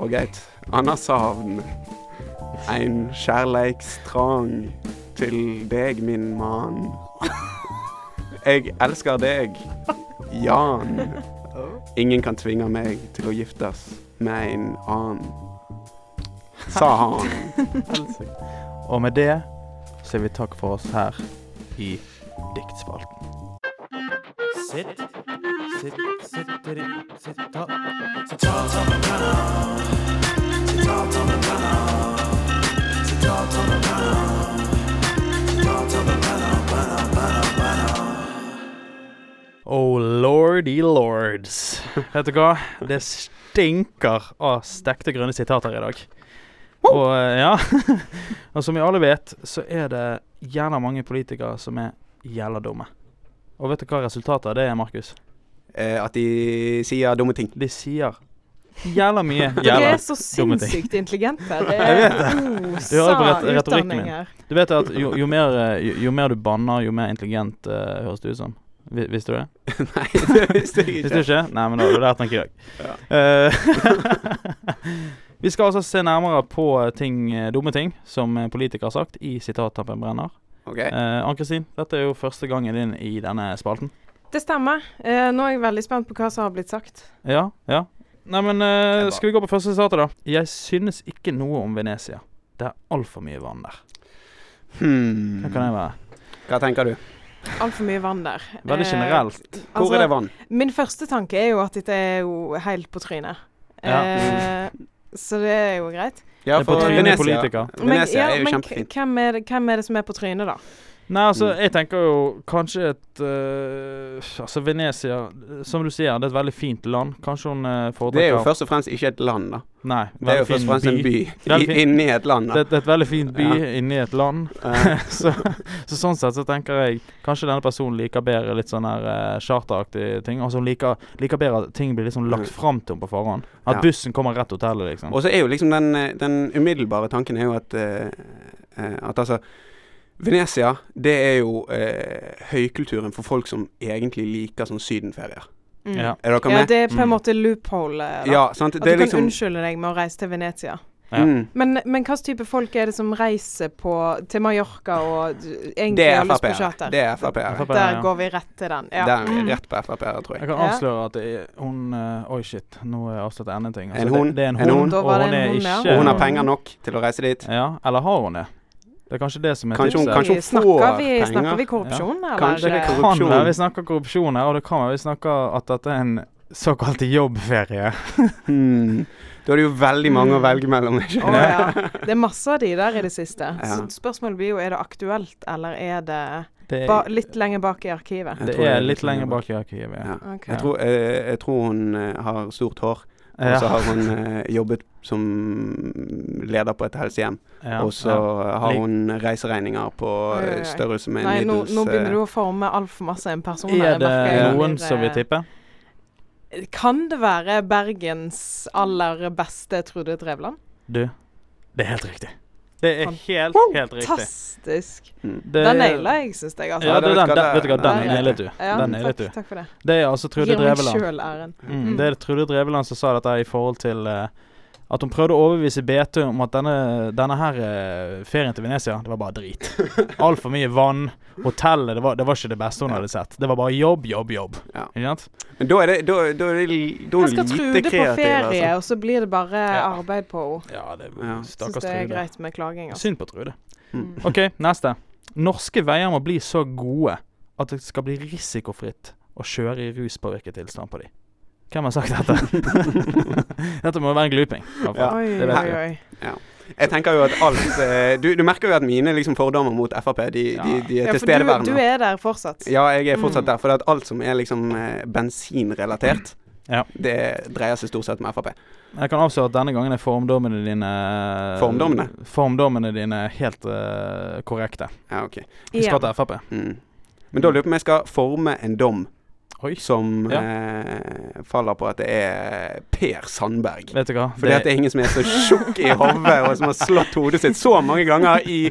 Speaker 2: og eit anna savn. Ein kjærleikstrang til deg, min mann. Jeg elsker deg, Jan. Ingen kan tvinge meg til å giftes med en annen, sa han.
Speaker 4: Og med det sier vi takk for oss her i Diktspalten.
Speaker 1: Sitt, sitt, sitter i, sitt, ta Sitat av en penna Sitat av en penna Sitat av en penna Sitat av en penna, penna, penna, penna
Speaker 4: Oh lordy lords. Vet du hva? Det stinker av stekte grønne sitater i dag. Og eh, ja Og som vi alle vet, så er det jævla mange politikere som er jævla dumme. Og vet du hva resultatet av det er, Markus?
Speaker 2: eh, at de sier dumme ting.
Speaker 4: De sier jævla mye
Speaker 3: Dere
Speaker 4: jævla
Speaker 3: er så
Speaker 4: dumme ting.
Speaker 3: sinnssykt intelligente. Det
Speaker 4: Jeg
Speaker 3: er
Speaker 4: vet Du hører på
Speaker 3: osa
Speaker 4: retor- retorikken
Speaker 3: utdanning
Speaker 4: min.
Speaker 3: her.
Speaker 4: Du vet at jo, jo, mer, eh, jo, jo mer du banner, jo mer intelligent eh, høres det ut som. Vi- Visste du det?
Speaker 2: Nei, det visste jeg
Speaker 4: Visste du
Speaker 2: ikke.
Speaker 4: ikke? Nei, men da har du lært noe i dag. Eh, vi skal altså se nærmere på ting, eh, dumme ting som eh, politikere har sagt i sitattampen brenner.
Speaker 2: Ok,
Speaker 4: Eh, Ann-Kristin, dette er jo første gangen din i denne spalten.
Speaker 3: Det stemmer. Eh, nå er jeg veldig spent på hva som har blitt sagt.
Speaker 4: Ja, ja. Nei, men eh,
Speaker 2: Det er bra.
Speaker 4: skal vi gå på første sitatet, da? Jeg synes ikke noe om Venezia. Det er altfor mye vann der.
Speaker 2: hmm.
Speaker 4: Hva kan det være?
Speaker 2: Hva tenker du?
Speaker 3: Altfor mye vann der.
Speaker 4: Veldig
Speaker 3: Eh,
Speaker 4: generelt.
Speaker 2: Hvor
Speaker 3: altså,
Speaker 2: er det vann?
Speaker 3: Min første tanke er jo at dette er jo helt på trynet.
Speaker 4: Ja.
Speaker 3: Eh, så det er jo greit.
Speaker 2: Ja,
Speaker 4: det er på
Speaker 2: for
Speaker 4: trynet
Speaker 2: Venezia-
Speaker 4: politiker.
Speaker 3: Men-
Speaker 2: Venezia
Speaker 3: ja,
Speaker 2: er jo
Speaker 3: men
Speaker 2: kjempefint.
Speaker 3: Hvem er, det, hvem er det som er på trynet, da?
Speaker 4: Nei, altså,
Speaker 2: Mm.
Speaker 4: jeg tenker jo kanskje et eh, Altså, Venezia eh, Som du sier, det er et veldig fint land. Kanskje hun eh,
Speaker 2: Det er jo
Speaker 4: foretrekker
Speaker 2: først og fremst ikke et land, da.
Speaker 4: Nei,
Speaker 2: Det er jo
Speaker 4: veldig
Speaker 2: først og
Speaker 4: fin
Speaker 2: fremst en by
Speaker 4: Veldig
Speaker 2: i-
Speaker 4: fin.
Speaker 2: inni et land, da.
Speaker 4: Det, det er et veldig fint by
Speaker 2: Ja.
Speaker 4: inni et land.
Speaker 2: Eh,
Speaker 4: så, så sånn sett så tenker jeg kanskje denne personen liker bedre litt sånn her eh, charteraktige ting. Altså hun liker, liker bedre at ting blir liksom lagt
Speaker 2: Mm.
Speaker 4: fram til henne på forhånd. At
Speaker 2: Ja.
Speaker 4: bussen kommer rett til hotellet, liksom.
Speaker 2: Og så er jo liksom den, eh, den umiddelbare tanken er jo at eh, eh, At altså Venezia, det er jo eh, høykulturen for folk som egentlig liker sånn sydenferier.
Speaker 3: Mm.
Speaker 4: Ja.
Speaker 2: Er dere
Speaker 3: Ja,
Speaker 2: med?
Speaker 3: det er på en
Speaker 4: Mm.
Speaker 3: måte loophole. eh, Da.
Speaker 2: Ja, sant?
Speaker 3: At
Speaker 2: Det
Speaker 3: du
Speaker 2: er
Speaker 3: kan
Speaker 2: liksom
Speaker 3: unnskylde deg med å reise til Venezia.
Speaker 4: Ja.
Speaker 2: Mm.
Speaker 3: Men, men hva slags type folk er det som reiser på, til Mallorca og d-
Speaker 2: Det
Speaker 3: egentlig
Speaker 2: er
Speaker 3: har lyst på
Speaker 2: Frp-ere.
Speaker 3: charter?
Speaker 2: Det er Frp-ere.
Speaker 4: Frp-ere,
Speaker 3: Der
Speaker 4: ja.
Speaker 3: går vi rett til den. Ja.
Speaker 2: Der,
Speaker 3: Mm.
Speaker 2: rett på Frp-ere, tror jeg.
Speaker 4: Jeg kan
Speaker 3: Ja.
Speaker 4: avsløre at det er, hun eh, Oi, shit. Nå har jeg avslørt enda en ting.
Speaker 2: En
Speaker 4: det-
Speaker 2: hun,
Speaker 4: Det er en
Speaker 2: en
Speaker 4: hun,
Speaker 2: hun.
Speaker 3: Da
Speaker 4: og
Speaker 3: var det
Speaker 4: hun
Speaker 3: en
Speaker 4: er
Speaker 3: hun, ja.
Speaker 4: ikke
Speaker 2: Og hun har penger nok til å reise dit.
Speaker 4: Ja, eller har hun det? Det er kanskje det som er
Speaker 2: Kanskje hun-
Speaker 4: tipset.
Speaker 2: kanskje hun
Speaker 3: snakker,
Speaker 2: får
Speaker 3: vi, snakker
Speaker 2: penger.
Speaker 3: vi korrupsjon, eller?
Speaker 2: Kanskje vi
Speaker 3: eh,
Speaker 2: korrup-
Speaker 4: kan
Speaker 2: korrupsjon.
Speaker 4: være vi snakker korrupsjon her, og det kan være vi snakker at dette er en såkalt jobbferie.
Speaker 2: Hmm. Da er det jo veldig mange å velge mellom. Ikke?
Speaker 3: Mm. Å ja. Det er masse av de der i det siste.
Speaker 2: Ja.
Speaker 3: Så spørsmålet blir jo er det aktuelt, eller er det
Speaker 4: Det
Speaker 3: ba
Speaker 4: er,
Speaker 3: litt lenger bak i arkivet?
Speaker 2: Jeg
Speaker 4: det
Speaker 2: tror
Speaker 4: er litt lenger bak i arkivet.
Speaker 2: Ja.
Speaker 4: Ja.
Speaker 3: Ok.
Speaker 2: Jeg, tror, eh, jeg tror hun eh, har stort hår, og så
Speaker 4: Ja.
Speaker 2: har hun eh, jobbet som leder på et helsehjem.
Speaker 4: Ja.
Speaker 2: og så
Speaker 4: ja.
Speaker 2: har
Speaker 4: Lik-
Speaker 2: hun reiseregninger på
Speaker 3: Oi, oi, oi.
Speaker 2: eh, størrelse med en
Speaker 3: Nei, nå,
Speaker 2: middels
Speaker 3: nå begynner du
Speaker 2: eh,
Speaker 3: å forme altfor masse en person. her,
Speaker 4: Er
Speaker 3: jeg
Speaker 4: det
Speaker 3: merker jeg
Speaker 4: noen
Speaker 3: blir,
Speaker 4: som vil
Speaker 3: eh,
Speaker 4: tippe?
Speaker 3: Kan det være Bergens aller beste Trude Drevland?
Speaker 4: Du, det er helt riktig. Det er helt, helt riktig.
Speaker 3: Fantastisk.
Speaker 2: mm.
Speaker 4: Det,
Speaker 3: Den naila jeg, syns jeg. Altså.
Speaker 4: Ja, det, den,
Speaker 2: Ja,
Speaker 4: den, vet du hva,
Speaker 2: den-
Speaker 4: den
Speaker 3: den-
Speaker 4: nailet du.
Speaker 3: Ja,
Speaker 4: Den nailet
Speaker 3: takk,
Speaker 4: du.
Speaker 3: takk for det.
Speaker 4: Det er altså Trude
Speaker 3: Gir Mm. meg
Speaker 4: Dreveland.
Speaker 3: sjøl æren.
Speaker 4: Mm, det er Trude Dreveland som sa dette i forhold til eh, At hun prøvde å overbevise BT om at denne, denne her eh, ferien til Venezia, det var bare drit. Altfor mye vann. Hotellet, det var, det var ikke det beste hun hadde sett. Det var bare jobb, jobb, jobb.
Speaker 2: Ja.
Speaker 4: Ikke sant?
Speaker 2: Men da er det, da, da er det, li- da er
Speaker 3: Jeg
Speaker 2: det
Speaker 3: skal
Speaker 2: lite
Speaker 3: Trude på
Speaker 2: kreativ.
Speaker 3: ferie,
Speaker 2: Altså.
Speaker 3: og så blir det bare
Speaker 4: Ja.
Speaker 3: arbeid på henne.
Speaker 4: Ja, det
Speaker 2: Ja.
Speaker 3: Syns
Speaker 4: Stakkars
Speaker 3: det er
Speaker 4: Trude.
Speaker 3: greit med klaging. Altså.
Speaker 4: Synd på Trude.
Speaker 2: Mm.
Speaker 4: OK, neste. Norske veier må bli så gode at det skal bli risikofritt å kjøre i ruspåvirket tilstand på de. Hvem har sagt dette? dette må være en gluping. i hvert fall.
Speaker 3: Oi,
Speaker 4: det vet
Speaker 3: oi,
Speaker 4: jeg.
Speaker 3: oi.
Speaker 2: Jeg tenker jo at alt eh, du, du merker jo at mine liksom, fordommer mot Frp, de, de, de er
Speaker 3: Ja, for du, du
Speaker 2: tilstedeværende.
Speaker 3: er der fortsatt.
Speaker 2: Ja, jeg er fortsatt
Speaker 3: Mm.
Speaker 2: der. For at alt som er liksom eh, bensinrelatert,
Speaker 4: Ja.
Speaker 2: det dreier seg stort sett om Frp.
Speaker 4: Jeg kan avsløre at denne gangen er formdommene dine eh,
Speaker 2: Formdommene?
Speaker 4: Formdommene dine helt eh, korrekte.
Speaker 2: Ja, ok.
Speaker 4: Vi skal
Speaker 3: Igjen.
Speaker 4: til Frp.
Speaker 2: Mm. Men da lurer jeg på om jeg skal forme en dom
Speaker 4: Oi.
Speaker 2: som
Speaker 4: Ja.
Speaker 2: eh, faller på at det er eh, Per Sandberg.
Speaker 4: Vet du hva?
Speaker 2: Fordi at det er ingen som er så tjukk i hodet og som har slått hodet sitt så mange ganger i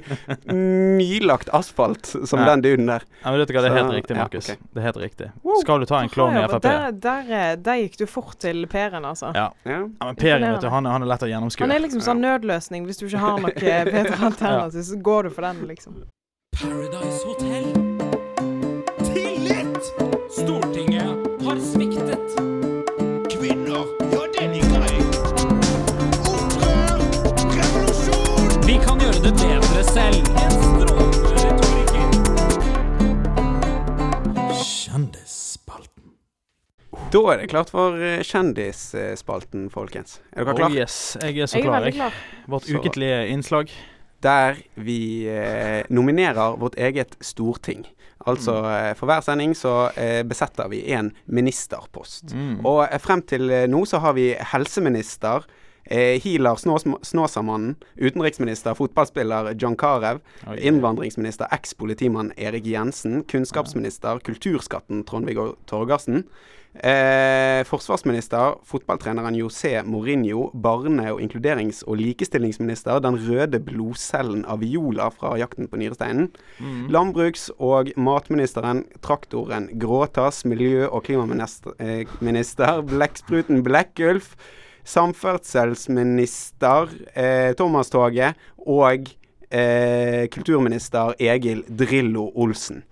Speaker 2: nylagt asfalt som
Speaker 4: Nei.
Speaker 2: den duden der.
Speaker 4: ja, men vet du hva? det er helt
Speaker 2: Så- ja,
Speaker 4: riktig, Markus.
Speaker 2: ok.
Speaker 4: Det er helt riktig.
Speaker 3: Wow.
Speaker 4: Skal du ta en klovn i
Speaker 3: Ja, for
Speaker 4: Frp?
Speaker 3: Der, der, eh, der gikk du fort til Per-en, altså.
Speaker 4: Ja.
Speaker 2: Ja.
Speaker 4: Ja, men Per vet du, han, er- han er lett å gjennomskue.
Speaker 3: Han er liksom sånn nødløsning. Hvis du ikke har noe eh, bedre alternativ, så går du for den, liksom.
Speaker 5: Paradise Hotel. Tillit! Stortinget har sviktet.
Speaker 1: Kvinner, ja, den er grei. Opprør, revolusjon.
Speaker 5: Vi kan gjøre det bedre selv. En strålende retoriker. Kjendisspalten.
Speaker 2: Da er det klart for eh, kjendisspalten, folkens. Er dere
Speaker 4: Oh
Speaker 2: klare?
Speaker 4: yes, jeg er så
Speaker 3: Jeg er
Speaker 4: klar,
Speaker 3: veldig
Speaker 4: jeg.
Speaker 3: klar.
Speaker 4: Vårt
Speaker 2: Så-
Speaker 4: ukentlige innslag.
Speaker 2: Der vi eh, nominerer vårt eget storting. Altså eh, for hver sending så eh, besetter vi en ministerpost. Og eh, frem til eh, nå så har vi helseminister, eh, healer Snåsm- Snåsamannen, utenriksminister, fotballspiller John Carew,
Speaker 4: Oi.
Speaker 2: innvandringsminister, eks-politimann Erik Jensen, kunnskapsminister, kulturskatten Trond-Viggo Torgersen, eh, forsvarsminister, fotballtreneren José Mourinho, barne- og inkluderings- og likestillingsminister, den røde blodcellen av Viola fra Jakten på nyresteinen,
Speaker 4: Mm.
Speaker 2: landbruks- og matministeren, traktoren Gråtass, miljø- og klimaminister, eh, minister, blekkspruten Blekkulf, samferdselsminister eh, Thomas Toge og eh, kulturminister Egil Drillo Olsen.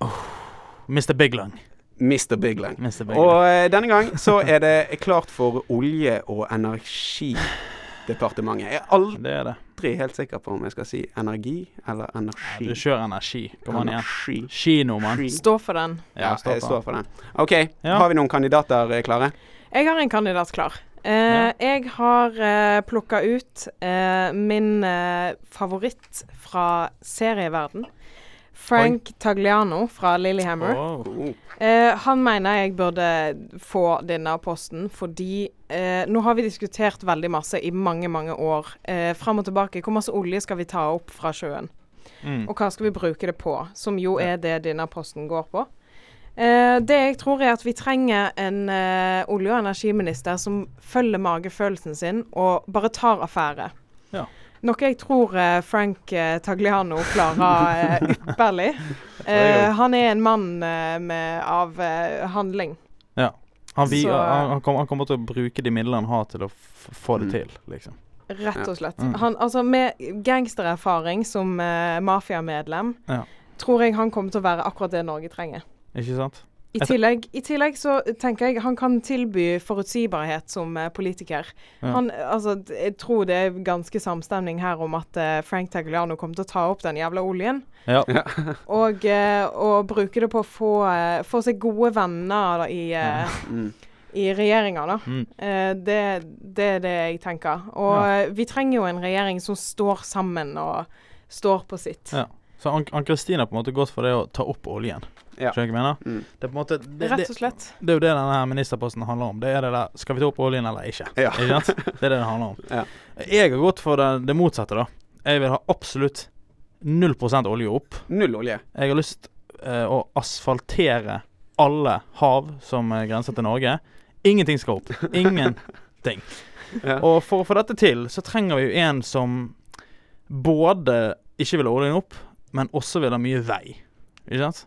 Speaker 4: Mr. Big Lung.
Speaker 2: Mr. Big Lang.
Speaker 4: Mr. Big
Speaker 2: Og eh, denne gang så er det klart for Olje- og energidepartementet. Jeg er
Speaker 4: Lung. Det er det.
Speaker 2: aldri helt sikker på om jeg skal si energi eller
Speaker 4: Du
Speaker 2: energi.
Speaker 4: kjører energi. Kom an igjen.
Speaker 2: Energi.
Speaker 4: Kino, mann.
Speaker 2: Energi.
Speaker 3: Stå for den.
Speaker 2: Ja,
Speaker 4: Ja,
Speaker 2: jeg står
Speaker 4: stopp.
Speaker 2: for den. OK,
Speaker 4: Ja.
Speaker 2: har vi noen kandidater eh, klare?
Speaker 3: Jeg har en kandidat klar. Eh,
Speaker 4: Ja.
Speaker 3: Jeg har eh, plukka ut eh, min eh, favoritt fra serieverden. Frank Tagliano fra Lillehammer.
Speaker 4: Wow.
Speaker 3: Eh, han mener jeg burde få denne posten fordi eh, Nå har vi diskutert veldig masse i mange, mange år. Eh, Fram og tilbake. Hvor masse olje skal vi ta opp fra sjøen?
Speaker 4: Mm.
Speaker 3: Og hva skal vi bruke det på? Som jo er det denne posten går på. Eh, det jeg tror er at vi trenger en eh, olje- og energiminister som følger magefølelsen sin og bare tar affære.
Speaker 4: Ja.
Speaker 3: Noe jeg tror eh, Frank eh, Tagliano klarer eh, ypperlig.
Speaker 4: jeg
Speaker 3: Eh, han er en mann eh, med, av eh, handling.
Speaker 4: Han, vi,
Speaker 3: Så-
Speaker 4: han, han, kommer, han kommer til å bruke de midlene han har til å f få det
Speaker 2: Mm.
Speaker 4: til, liksom.
Speaker 3: Rett
Speaker 2: Ja.
Speaker 3: og slett.
Speaker 4: Mm.
Speaker 3: Han, altså med gangstererfaring som eh, mafiamedlem,
Speaker 4: Ja.
Speaker 3: tror jeg han kommer til å være akkurat det Norge trenger.
Speaker 4: Ikke sant?
Speaker 3: I
Speaker 4: Jeg-
Speaker 3: tillegg, I tillegg så tenker jeg han kan tilby forutsigbarhet som eh, politiker.
Speaker 4: Ja.
Speaker 3: Han, altså, d- jeg tror det er ganske samstemning her om at eh, Frank Tagliano kommer til å ta opp den jævla oljen
Speaker 4: Ja.
Speaker 3: og, eh, og bruke det på å få, eh, få seg gode venner da, i, eh,
Speaker 2: Mm.
Speaker 3: i regjeringa, da.
Speaker 4: Mm.
Speaker 3: Eh, det, det er det jeg tenker. Og eh, vi trenger jo en regjering som står sammen og står på sitt.
Speaker 4: Ja. Så Ann- Ann-Kristin har på en måte gått for det å ta opp oljen.
Speaker 2: Ja.
Speaker 4: Skjønner du hva jeg mener?
Speaker 2: Mm.
Speaker 4: Det er på en måte det,
Speaker 3: Rett
Speaker 4: det,
Speaker 3: og slett.
Speaker 4: det er jo det denne her ministerposten handler om. Det er det der Skal vi ta opp oljen eller ikke?
Speaker 2: Ja.
Speaker 4: Ikke sant? Det er det det handler om.
Speaker 2: Ja.
Speaker 4: Jeg har gått for det, det motsatte, da. Jeg vil ha absolutt 0 olje opp.
Speaker 2: Null olje.
Speaker 4: Jeg har lyst eh, å asfaltere alle hav som eh, grenser til Norge. Ingenting skal opp. Ingenting.
Speaker 2: Ja.
Speaker 4: Og for å få dette til, så trenger vi jo en som både ikke vil ha oljen opp, men også vil ha mye vei. Ikke sant?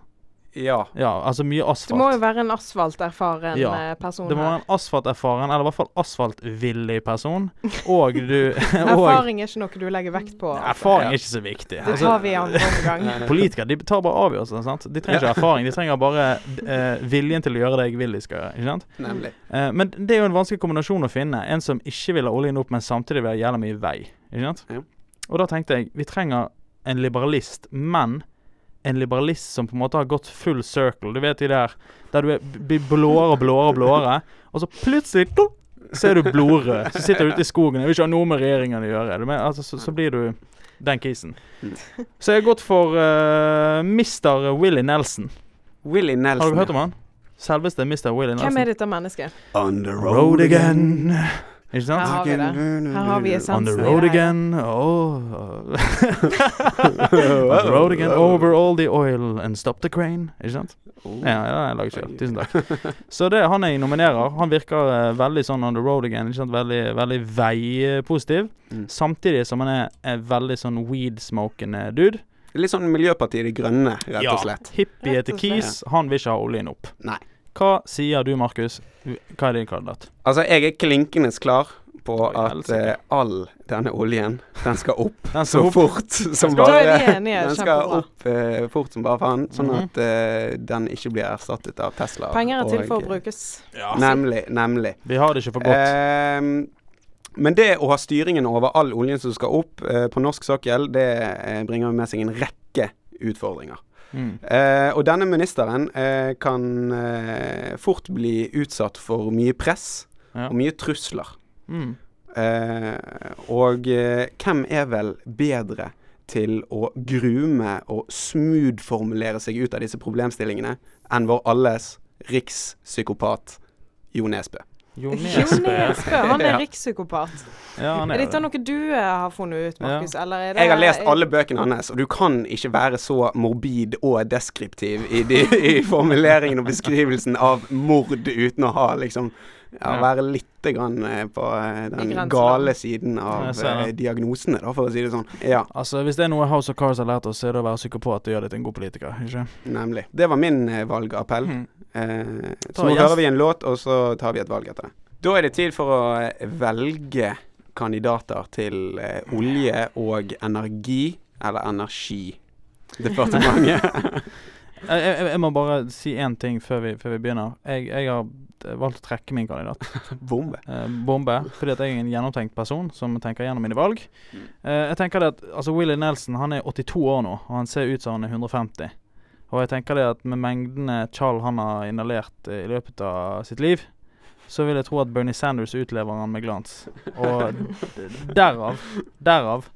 Speaker 2: Ja.
Speaker 4: Ja, altså
Speaker 3: Du må
Speaker 4: mye
Speaker 3: jo
Speaker 4: asfalt.
Speaker 3: være en asfalterfaren
Speaker 4: Ja,
Speaker 3: eh, person
Speaker 4: Det må være
Speaker 3: her.
Speaker 4: en asfalterfaren, eller i hvert fall asfaltvillig person. Og du og,
Speaker 3: Erfaring er ikke noe du legger vekt på. altså.
Speaker 4: Erfaring er ikke så viktig.
Speaker 3: Det
Speaker 4: Altså,
Speaker 3: tar vi i andre omgang.
Speaker 4: Politikere de tar bare avgjørelser. sant? De trenger ikke erfaring, de trenger bare eh, viljen til å gjøre det jeg vil de skal gjøre. ikke sant?
Speaker 2: Nemlig.
Speaker 4: Eh, men det er jo en vanskelig kombinasjon å finne. En som ikke vil ha oljen opp, men samtidig vil ha jævla mye vei. ikke sant?
Speaker 2: Ja.
Speaker 4: Og da tenkte jeg vi trenger en liberalist, men en liberalist som på en måte har gått full circle. Du vet de der der du er, blir blåere og blåere og blåere, og så plutselig dunk, så er du blodrød. Så sitter du ute i skogen. Jeg vil ikke ha noe med regjeringen å gjøre. Du mener, altså, så, så blir du den kisen. Så jeg har gått for eh, Mr. Willy Nelson.
Speaker 2: Willy Nelson.
Speaker 4: Har du hørt om han? Selveste Mr. Willy Nelson.
Speaker 3: Hvem er dette mennesket?
Speaker 2: On the
Speaker 4: Road again. Ikke sant?
Speaker 3: Her har vi det. Her har vi
Speaker 4: Mm. On the
Speaker 3: essensen i
Speaker 4: road
Speaker 3: det her.
Speaker 4: again, oh On the road again, over all the oil and stop the crane. Ikke sant?
Speaker 2: Oh. Mm.
Speaker 4: Ja, ja, den lager jeg selv. Tusen takk. Så det er han jeg nominerer. Han virker eh, veldig sånn on the road again. Ikke sant? Veldig, veldig veipositiv.
Speaker 2: Mm.
Speaker 4: Samtidig som han er en veldig sånn weed-smokende dude.
Speaker 2: Litt sånn Miljøpartiet De Grønne, rett og slett.
Speaker 4: Hippie
Speaker 3: Rett
Speaker 4: til
Speaker 3: og slett.
Speaker 4: Kis. Han vil ikke ha oljen opp.
Speaker 2: Nei.
Speaker 4: Hva sier du, Markus? Hva er din kandidat?
Speaker 2: Altså, jeg er klinkende klar på
Speaker 4: Oi,
Speaker 2: at
Speaker 4: helsike.
Speaker 2: eh, all denne oljen, den skal opp
Speaker 4: Den
Speaker 2: så
Speaker 4: som
Speaker 2: fort som
Speaker 3: Da er
Speaker 2: bare
Speaker 3: vi enige.
Speaker 2: Den skal
Speaker 3: Kjempebra.
Speaker 2: opp eh, fort som bare faen, sånn
Speaker 4: Mhm.
Speaker 2: at eh, den ikke blir erstattet av Tesla.
Speaker 3: Penger er til
Speaker 2: og-
Speaker 3: for å brukes.
Speaker 2: Nemlig. Nemlig.
Speaker 4: Vi har det ikke for godt.
Speaker 2: Ehm, men det å ha styringen over all oljen som skal opp eh, på norsk sokkel, det eh, bringer med seg en rekke utfordringer.
Speaker 4: Mm.
Speaker 2: Eh, og denne ministeren eh, kan eh, fort bli utsatt for mye press
Speaker 4: Ja.
Speaker 2: og mye trusler.
Speaker 4: Mm.
Speaker 2: Eh, og eh, hvem er vel bedre til å grume og smoothformulere seg ut av disse problemstillingene enn vår alles rikspsykopat Jo Nesbø?
Speaker 3: Jo
Speaker 4: Jo
Speaker 3: Nesbø, han
Speaker 2: Ja.
Speaker 3: er rikspsykopat.
Speaker 4: Ja, han
Speaker 3: Er
Speaker 4: er
Speaker 3: dette
Speaker 4: det.
Speaker 3: noe du eh, har funnet ut, Markus? Eller er det
Speaker 2: Jeg har lest alle bøkene hans, og du kan ikke være så morbid og deskriptiv i, de, i formuleringen og beskrivelsen av mord uten å ha liksom ja,
Speaker 4: Ja.
Speaker 2: Være litt grann eh, på eh, den
Speaker 3: grenseland.
Speaker 2: gale siden
Speaker 4: jeg
Speaker 2: av
Speaker 4: ser
Speaker 2: eh,
Speaker 4: det.
Speaker 2: diagnosene, da, for å si det sånn. Ja,
Speaker 4: Altså, Hvis det er noe House of Cards har lært oss, så er det å være psykopat og gjøre deg til en god politiker. ikke?
Speaker 2: nemlig. Det var min eh, valgappell.
Speaker 4: Mm.
Speaker 2: Eh,
Speaker 4: Ta
Speaker 2: så nå
Speaker 4: gjest.
Speaker 2: hører vi en låt, og så tar vi et valg etter det. Da er det tid for å eh, velge kandidater til eh, olje og energi, eller energidepartementet.
Speaker 4: Jeg, jeg, jeg må bare si én ting før vi, før vi begynner. Jeg, jeg har valgt å trekke min kandidat,
Speaker 2: Bombe.
Speaker 4: eh, Bombe, fordi at jeg er en gjennomtenkt person som tenker gjennom mine valg. Eh, jeg tenker det at, altså Willy Nelson han er 82 år nå, og han ser ut som han er 150. Og jeg tenker det at med mengdene tjall han har inhalert eh, i løpet av sitt liv, så vil jeg tro at Bernie Sanders utlever han med glans. Og d- derav, derav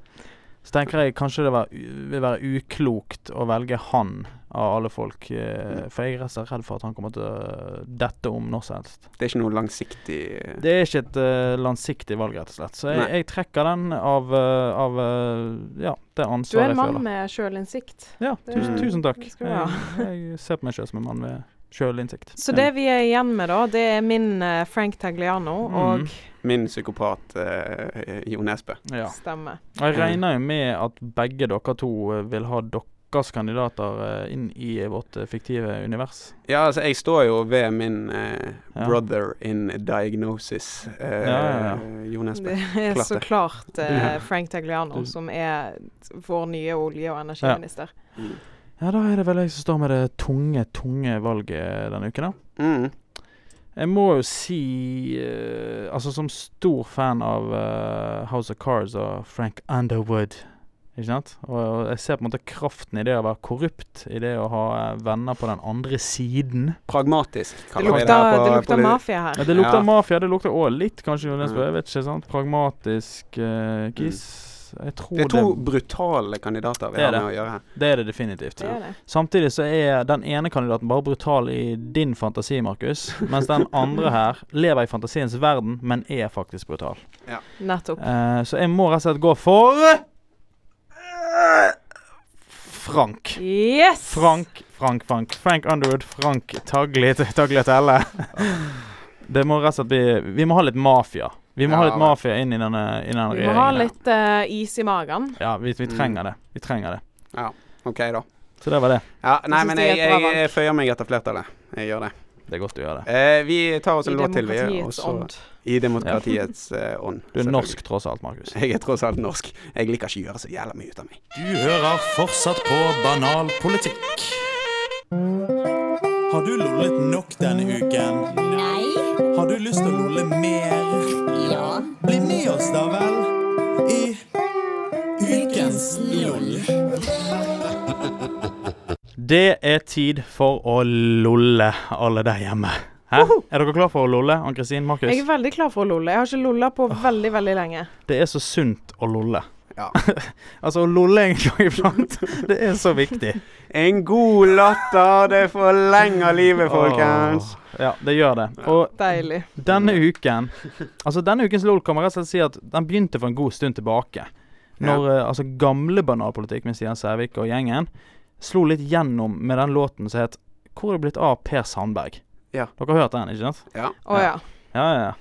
Speaker 4: så tenker jeg kanskje det var, u- vil være uklokt å velge han av alle folk. eh, For jeg er rett og slett redd for at han kommer til å dette om når som helst.
Speaker 2: Det er ikke noe langsiktig eh,
Speaker 4: Det er ikke et eh, langsiktig valg, rett og slett. Så jeg,
Speaker 2: Nei.
Speaker 4: jeg trekker den av, eh, av eh, ja,
Speaker 3: Du
Speaker 4: det
Speaker 3: er
Speaker 4: ansvaret
Speaker 3: en
Speaker 4: jeg
Speaker 3: mann
Speaker 4: føler.
Speaker 3: med sjølinnsikt.
Speaker 4: Ja,
Speaker 3: Det-
Speaker 4: tusen, tusen takk. Mm.
Speaker 3: det skal du
Speaker 4: Jeg, jeg ser på meg selv som en mann med sjølinnsikt.
Speaker 3: Så det vi er igjen med, da, det er min eh, Frank Tagliano og
Speaker 4: Mm.
Speaker 2: Min psykopat eh, Jo Nesbø.
Speaker 4: ja.
Speaker 3: stemme.
Speaker 4: Og jeg regner jo med at begge dere to eh, vil ha deres kandidater eh, inn i vårt eh, fiktive univers.
Speaker 2: Ja, altså, jeg står jo ved min eh,
Speaker 4: Ja.
Speaker 2: brother in diagnosis, eh,
Speaker 4: ja, ja.
Speaker 2: Jo Nesbø.
Speaker 3: Det er
Speaker 2: Klart
Speaker 3: så
Speaker 2: det.
Speaker 3: klart eh,
Speaker 2: Ja.
Speaker 3: Frank Tagliano
Speaker 4: Du-
Speaker 3: som er vår nye olje- og energiminister.
Speaker 2: Mm.
Speaker 4: Ja, da er det vel jeg som står med det tunge, tunge valget denne uken, da.
Speaker 2: Mm.
Speaker 4: Jeg må jo si eh, Altså, som stor fan av eh, House of Cards og Frank Underwood Ikke sant? Og, og jeg ser på en måte kraften i det å være korrupt, i det å ha eh, venner på den andre siden.
Speaker 2: Pragmatisk,
Speaker 3: Det
Speaker 2: kaller vi
Speaker 3: lukter,
Speaker 2: her på-
Speaker 3: det
Speaker 2: på-
Speaker 3: lukter mafia her.
Speaker 4: Ja, det lukter
Speaker 2: Ja.
Speaker 4: mafia. Det lukter òg litt, kanskje, Jonas
Speaker 2: Mm.
Speaker 4: Bø. Jeg vet ikke, sant? Pragmatisk eh, kiss. Jeg tror
Speaker 2: Mm. Det
Speaker 4: det,
Speaker 2: er to brutale kandidater vi
Speaker 4: Det er
Speaker 2: har
Speaker 4: det.
Speaker 2: med å gjøre her.
Speaker 4: det er det definitivt.
Speaker 3: Det er det.
Speaker 4: Samtidig så er den ene kandidaten bare brutal i din fantasi, Markus. Mens den andre her lever i fantasiens verden, men er faktisk brutal.
Speaker 3: Nettopp.
Speaker 4: Eh, så jeg må rett og slett gå for eh, Frank.
Speaker 3: Yes!
Speaker 4: Frank, Frank, Frank. Frank Underwood, Frank Taglit, Tagliatelle. Det må rett og slett bli Vi må ha litt mafia. Vi må ha
Speaker 2: Ja,
Speaker 4: litt
Speaker 2: men-
Speaker 4: mafia inn i denne, i denne
Speaker 3: Vi må ha
Speaker 4: regjeringen.
Speaker 3: litt eh, is i magen.
Speaker 4: Mm. Ja, vi, vi trenger det. Vi trenger det.
Speaker 2: OK, da.
Speaker 4: Så det var det.
Speaker 2: Ja, nei,
Speaker 3: synes
Speaker 2: men
Speaker 3: det er
Speaker 2: jeg,
Speaker 3: et bra
Speaker 2: jeg, jeg føyer meg etter flertallet. Jeg gjør det.
Speaker 4: Det er godt å gjøre det.
Speaker 2: Eh, vi tar oss
Speaker 3: I
Speaker 2: en låt til, vi. og
Speaker 3: demokratiets
Speaker 2: så-
Speaker 3: ånd.
Speaker 2: I demokratiets eh, ånd.
Speaker 4: Du er
Speaker 2: selvfølgelig.
Speaker 4: norsk tross alt, Markus.
Speaker 2: Jeg er tross alt norsk. Jeg liker ikke å gjøre så jævla mye ut av meg.
Speaker 1: Du hører fortsatt på Banal politikk. Har du lollet nok denne uken?
Speaker 6: Nei.
Speaker 1: Har du lyst til å lolle mer?
Speaker 6: Ja.
Speaker 1: Bli med oss da vel i Ukens LOL.
Speaker 4: Det er tid for å lolle, alle der hjemme. Hæ? Er dere klar for å lolle, Ann-Kristin, Markus?
Speaker 3: Jeg er veldig klar for å lolle. Jeg har ikke lolla på veldig, veldig lenge.
Speaker 4: Det er så sunt å lolle.
Speaker 2: Ja.
Speaker 4: altså, å lolle en gang iblant, det er så viktig.
Speaker 2: En god latter, det forlenger livet, folkens.
Speaker 4: Åh, Ja, det gjør det. Og
Speaker 3: Deilig.
Speaker 4: denne uken Altså, denne ukens LOL kan man rett og slett si at den begynte for en god stund tilbake. Når eh, altså gamle banalpolitikk med Stian Sævik og gjengen slo litt gjennom med den låten som het Hvor er det blitt av Per Sandberg?
Speaker 2: Ja.
Speaker 4: Dere har hørt den, ikke sant?
Speaker 3: Å ja.
Speaker 4: Ja, ja, ja.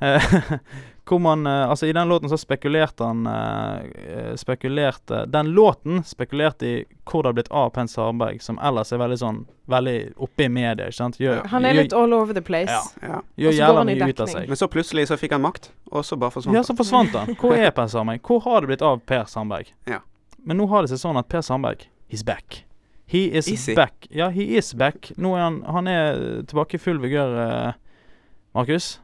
Speaker 4: Eh, Hvor man eh, Altså, i den låten så spekulerte han eh, eh, Spekulerte Den låten spekulerte i hvor det har blitt av Pence Harberg, som ellers er veldig sånn Veldig oppe i media, ikke sant? Gjør,
Speaker 3: Han er litt
Speaker 4: gjør,
Speaker 3: all over the place.
Speaker 4: Ja.
Speaker 2: Ja.
Speaker 3: og
Speaker 4: gjør
Speaker 3: så går
Speaker 4: jævla
Speaker 3: han i
Speaker 4: mye ut av
Speaker 3: dekning.
Speaker 4: seg.
Speaker 2: Men så plutselig så fikk han makt, og så bare forsvant
Speaker 4: Ja,
Speaker 2: han.
Speaker 4: så forsvant han. Hvor er Per Sandberg? Hvor har det blitt av Per Sandberg?
Speaker 2: Ja.
Speaker 4: Men nå har det seg sånn at Per Sandberg He's back. He is
Speaker 2: Is he?
Speaker 4: back. Ja, he is back. Nå er han Han er tilbake i full vigør, eh, Markus.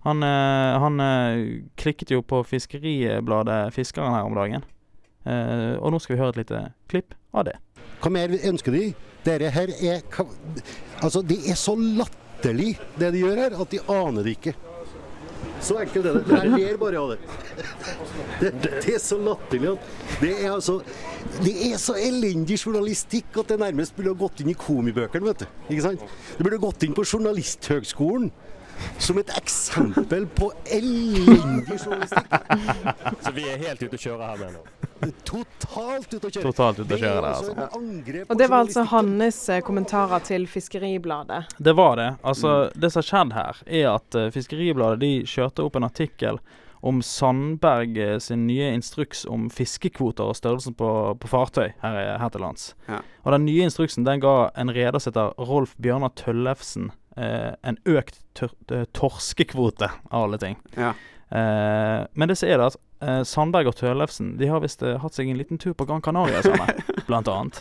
Speaker 4: Han, eh, han eh, klikket jo på Fiskeribladet Fiskeren her om dagen. Eh, og nå skal vi høre et lite klipp av det.
Speaker 7: Hva mer ønsker de? Dere her er ka- Altså, det er så latterlig det de gjør her, at de aner det ikke. Så enkelt er det. Jeg ler bare av det. det. Det er så latterlig at Det er altså Det er så elendig journalistikk at det nærmest burde ha gått inn i komibøkene, vet du. Ikke sant? Det burde gått inn på Journalisthøgskolen. Som et eksempel på elendig journalistikk.
Speaker 8: Så vi er helt ute å kjøre her med nå.
Speaker 7: Totalt ute å kjøre.
Speaker 4: Totalt ute å
Speaker 7: Det er
Speaker 4: kjøre der,
Speaker 7: altså
Speaker 4: altså.
Speaker 7: et angrep
Speaker 3: Og
Speaker 7: på
Speaker 3: det var altså
Speaker 7: journalistikken.
Speaker 3: hans eh, kommentarer til Fiskeribladet.
Speaker 4: Det var det. Altså, det som har skjedd her, er at eh, Fiskeribladet de kjørte opp en artikkel om Sandberg eh, sin nye instruks om fiskekvoter og størrelsen på, på fartøy her, i- her til lands.
Speaker 2: Ja.
Speaker 4: Og den nye instruksen den ga en reder som heter Rolf Bjørnar Tøllefsen eh, en økt tør eh, torskekvote, av alle ting.
Speaker 2: Ja.
Speaker 4: Eh, men det som er det, at eh, Sandberg og Tøllefsen de har visst eh, hatt seg en liten tur på Gran Canaria sammen, blant annet.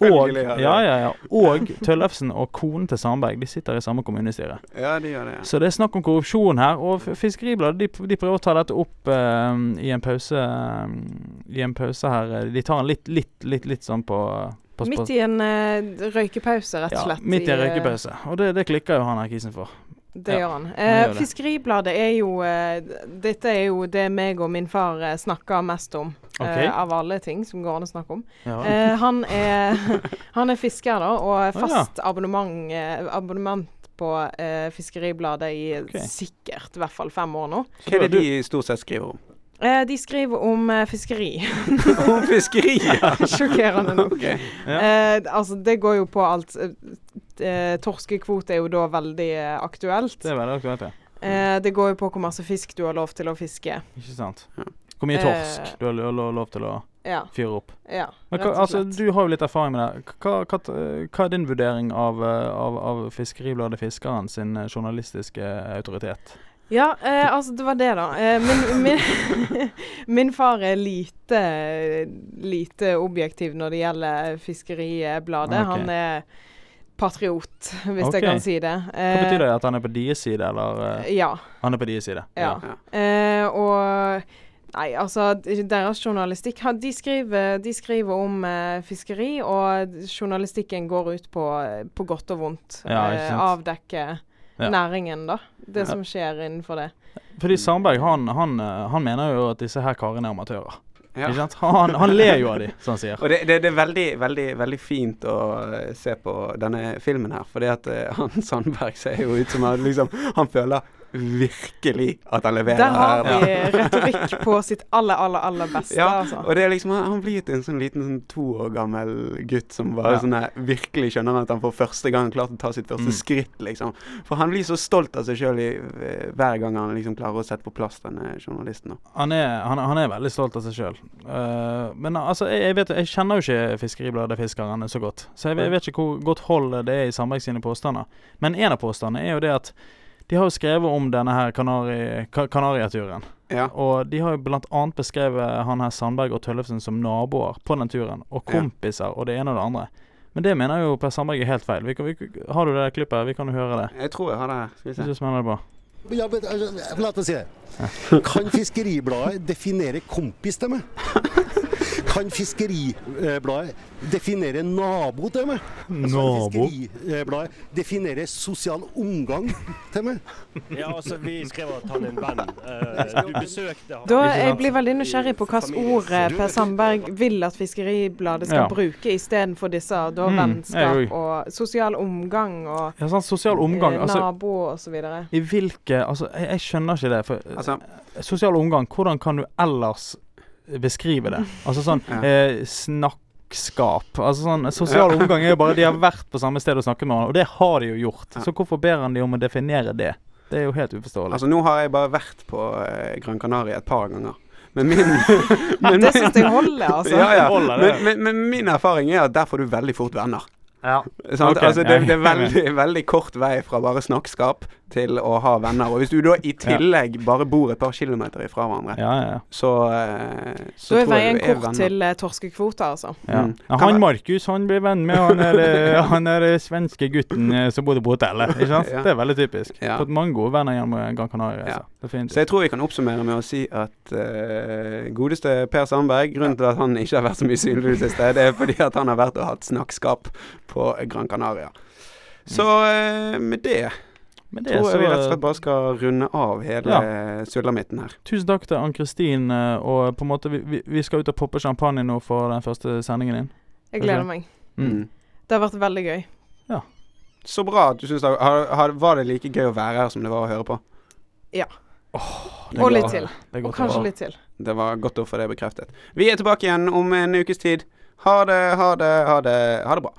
Speaker 4: Og,
Speaker 2: Selvfølgelig har de
Speaker 4: ja, ja, ja. og Tøllefsen og konen til Sandberg de sitter i samme kommunestyre.
Speaker 2: ja, de gjør det. Ja.
Speaker 4: Så det er snakk om korrupsjon her, og F- Fiskeribladet de, de prøver å ta dette opp eh, i en pause eh, I en pause her. De tar den litt, litt, litt, litt sånn på, på på-
Speaker 3: Midt i en eh, røykepause, rett og slett.
Speaker 4: Ja, midt i en
Speaker 3: eh,
Speaker 4: røykepause. Og det, det klikker jo han her kisen for.
Speaker 3: Det
Speaker 4: Ja,
Speaker 3: gjør han.
Speaker 4: han
Speaker 3: Eh,
Speaker 4: gjør det.
Speaker 3: Fiskeribladet er jo eh, Dette er jo det meg og min far eh, snakker mest om.
Speaker 4: Ok.
Speaker 3: eh, av alle ting som går an å snakke om.
Speaker 4: Ja.
Speaker 3: Eh, han, er, han er fisker, da, og er
Speaker 4: Å, ja.
Speaker 3: fast abonnement, eh, abonnement på eh, Fiskeribladet i sikkert i hvert fall fem år nå.
Speaker 2: Hva er det de stort sett skriver om?
Speaker 3: Eh, de skriver om eh, fiskeri.
Speaker 2: Om fiskeriet!
Speaker 3: Sjokkerende nok.
Speaker 2: Ok.
Speaker 3: Eh, altså, det går jo på alt. Eh, torskekvote er jo da veldig eh, aktuelt.
Speaker 4: Det er veldig aktuelt, ja.
Speaker 3: Eh, det går jo på hvor masse fisk du har lov til å fiske.
Speaker 4: Ikke sant.
Speaker 2: Ja.
Speaker 4: Hvor mye
Speaker 3: Eh.
Speaker 4: torsk du har lo- lo- lov til å
Speaker 3: Ja,
Speaker 4: fyre opp?
Speaker 3: ja
Speaker 4: Men
Speaker 3: rett
Speaker 4: hva,
Speaker 3: og
Speaker 4: altså,
Speaker 3: slett.
Speaker 4: du har jo litt erfaring med det. Hva, hva, hva er din vurdering av, eh, av, av Fiskeribladet Fiskeren sin eh, journalistiske autoritet?
Speaker 3: Ja, eh, altså det var det, da. Eh, min, min, min far er lite, lite objektiv når det gjelder Fiskeribladet.
Speaker 4: Ah, Ok.
Speaker 3: Han er patriot, hvis
Speaker 4: Ok.
Speaker 3: jeg kan si det. Eh,
Speaker 4: Hva betyr det? At han er på deres side, eller? eh?
Speaker 3: Ja.
Speaker 4: Han er på deres side.
Speaker 3: ja. Eh, og Nei, altså d- deres journalistikk ha- De skriver, de skriver om eh, fiskeri, og journalistikken går ut på, på godt og vondt. eh,
Speaker 4: Ja, ikke sant.
Speaker 3: avdekke
Speaker 4: Ja.
Speaker 3: næringen, da. Det
Speaker 4: Ja.
Speaker 3: som skjer innenfor det.
Speaker 4: Fordi Sandberg han, han, eh, han mener jo at disse her karene er amatører.
Speaker 2: Ja.
Speaker 4: Ikke sant? Han, han ler jo av de, som han sier.
Speaker 2: Og det, det, det er veldig, veldig veldig fint å eh, se på denne filmen her, fordi at eh, han Sandberg ser jo ut som han liksom Han føler virkelig at han leverer.
Speaker 3: Der har
Speaker 2: her, da.
Speaker 3: vi retorikk på sitt aller, aller, aller beste,
Speaker 2: Ja,
Speaker 3: altså.
Speaker 2: og det er liksom, han blir til en sånn liten sånn to år gammel gutt som bare
Speaker 4: Ja.
Speaker 2: sånn her, virkelig skjønner at han for første gang har klart å ta sitt
Speaker 3: Mm.
Speaker 2: første skritt, liksom. For han blir så stolt av seg sjøl hver gang han liksom klarer å sette på plass denne journalisten. da.
Speaker 4: Han er, han, han er veldig stolt av seg sjøl. men altså, jeg, jeg, vet, jeg kjenner jo ikke Fiskeribladet-fiskerne så godt, så jeg, vet- jeg vet ikke hvor godt hold det er i Sandberg sine påstander. Men en av påstandene er jo det at de har jo skrevet om denne her Kanari, Ka- Kanariaturen.
Speaker 2: Ja.
Speaker 4: Og de har jo blant annet beskrevet han her Sandberg og Tøllefsen som naboer på den turen, og
Speaker 2: Ja.
Speaker 4: kompiser og det ene og det andre. Men det mener jo Per Sandberg er helt feil. Vi kan, vi, har du det der klippet? Vi kan jo høre det.
Speaker 2: Jeg tror jeg har det her. Skal vi
Speaker 4: Hvis
Speaker 2: se.
Speaker 4: du smeller det på.
Speaker 7: Ja, men, altså, la meg si det. Kan Fiskeribladet definere kompis til meg? Kan Fiskeribladet definere nabo til meg? Kan Fiskeribladet definere sosial omgang til meg?
Speaker 8: Ja, altså, vi skrev at han er en venn. Eh, du besøkte han.
Speaker 3: Da
Speaker 4: Ikke
Speaker 3: jeg
Speaker 4: sant?
Speaker 3: blir veldig nysgjerrig på hvilket ord eh, Per Sandberg vil at Fiskeribladet skal
Speaker 4: Ja.
Speaker 3: bruke istedenfor disse da
Speaker 4: Mm, jeg
Speaker 3: vennskap
Speaker 4: òg.
Speaker 3: og sosial omgang og
Speaker 4: Ja, sånn sosial omgang.
Speaker 3: eh,
Speaker 4: Altså,
Speaker 3: nabo og så videre.
Speaker 4: i hvilke Altså, jeg, jeg skjønner ikke det. For
Speaker 2: Altså,
Speaker 4: Sosial omgang, hvordan kan du ellers beskrive det? Altså sånn
Speaker 2: Ja.
Speaker 4: eh, snakkskap. Altså sånn, Sosial omgang er jo bare De har vært på samme sted og snakket med hverandre, og det har de jo gjort.
Speaker 2: Ja.
Speaker 4: Så hvorfor ber han de om å definere det? Det er jo helt uforståelig.
Speaker 2: altså, nå har jeg bare vært på eh, Gran Canaria et par ganger. Men min, men
Speaker 3: Det
Speaker 2: min
Speaker 3: syns jeg holder, altså.
Speaker 2: ja, ja.
Speaker 4: Holder det.
Speaker 2: Men, men, men min erfaring er at der får du veldig fort venner.
Speaker 4: Ja.
Speaker 2: Sant?
Speaker 4: Ok,
Speaker 2: altså, det,
Speaker 4: jeg-
Speaker 2: det er veldig, veldig kort vei fra bare snakkskap til å ha venner. Og hvis du da i tillegg bare bor et par kilometer ifra hverandre,
Speaker 4: Ja, ja,
Speaker 2: så,
Speaker 3: Da
Speaker 2: eh, så
Speaker 3: er
Speaker 2: tror jeg
Speaker 3: veien
Speaker 2: du er
Speaker 3: kort
Speaker 2: venner.
Speaker 3: til eh, torskekvoter, altså.
Speaker 4: ja.
Speaker 2: Mm.
Speaker 4: ja.
Speaker 2: Kan være-
Speaker 4: Han Markus han blir venn med han er, han er svenske gutten eh, som bodde på hotellet. Ikke sant?
Speaker 2: Ja.
Speaker 4: Det er veldig typisk.
Speaker 2: Ja.
Speaker 4: Fått mange gode venner gjennom Gran Canaria.
Speaker 2: Ja.
Speaker 4: altså. Definitivt.
Speaker 2: Så jeg tror vi kan oppsummere med å si at eh, godeste Per Sandberg Grunnen til at han ikke har vært så mye synlig det siste, det er fordi at han har vært og hatt snakkskap på Gran Canaria. Så eh, med det
Speaker 4: Men det er
Speaker 2: tror jeg vi rett og
Speaker 4: så-
Speaker 2: slett bare skal runde av hele sulamitten her.
Speaker 4: Tusen takk til Ann-Kristin. eh, Og på en måte, vi, vi- vi skal ut og poppe champagne nå for den første sendingen din.
Speaker 3: Jeg
Speaker 4: Ok.
Speaker 3: gleder meg.
Speaker 2: Mm.
Speaker 3: Det har vært veldig gøy.
Speaker 2: Så bra at du syns det har, har, Var det like gøy å være her som det var å høre på?
Speaker 4: Det
Speaker 3: Og
Speaker 4: er
Speaker 3: litt
Speaker 4: godt.
Speaker 3: til.
Speaker 4: Det er
Speaker 3: Og
Speaker 4: godt å
Speaker 3: kanskje
Speaker 4: høre.
Speaker 3: litt til.
Speaker 2: Det var godt å få det bekreftet. Vi er tilbake igjen om en ukes tid. Ha det, ha det, ha det. Ha det bra.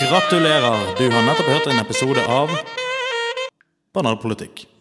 Speaker 6: Gratulerer! Du har nettopp hørt en episode av Banalpolitikk.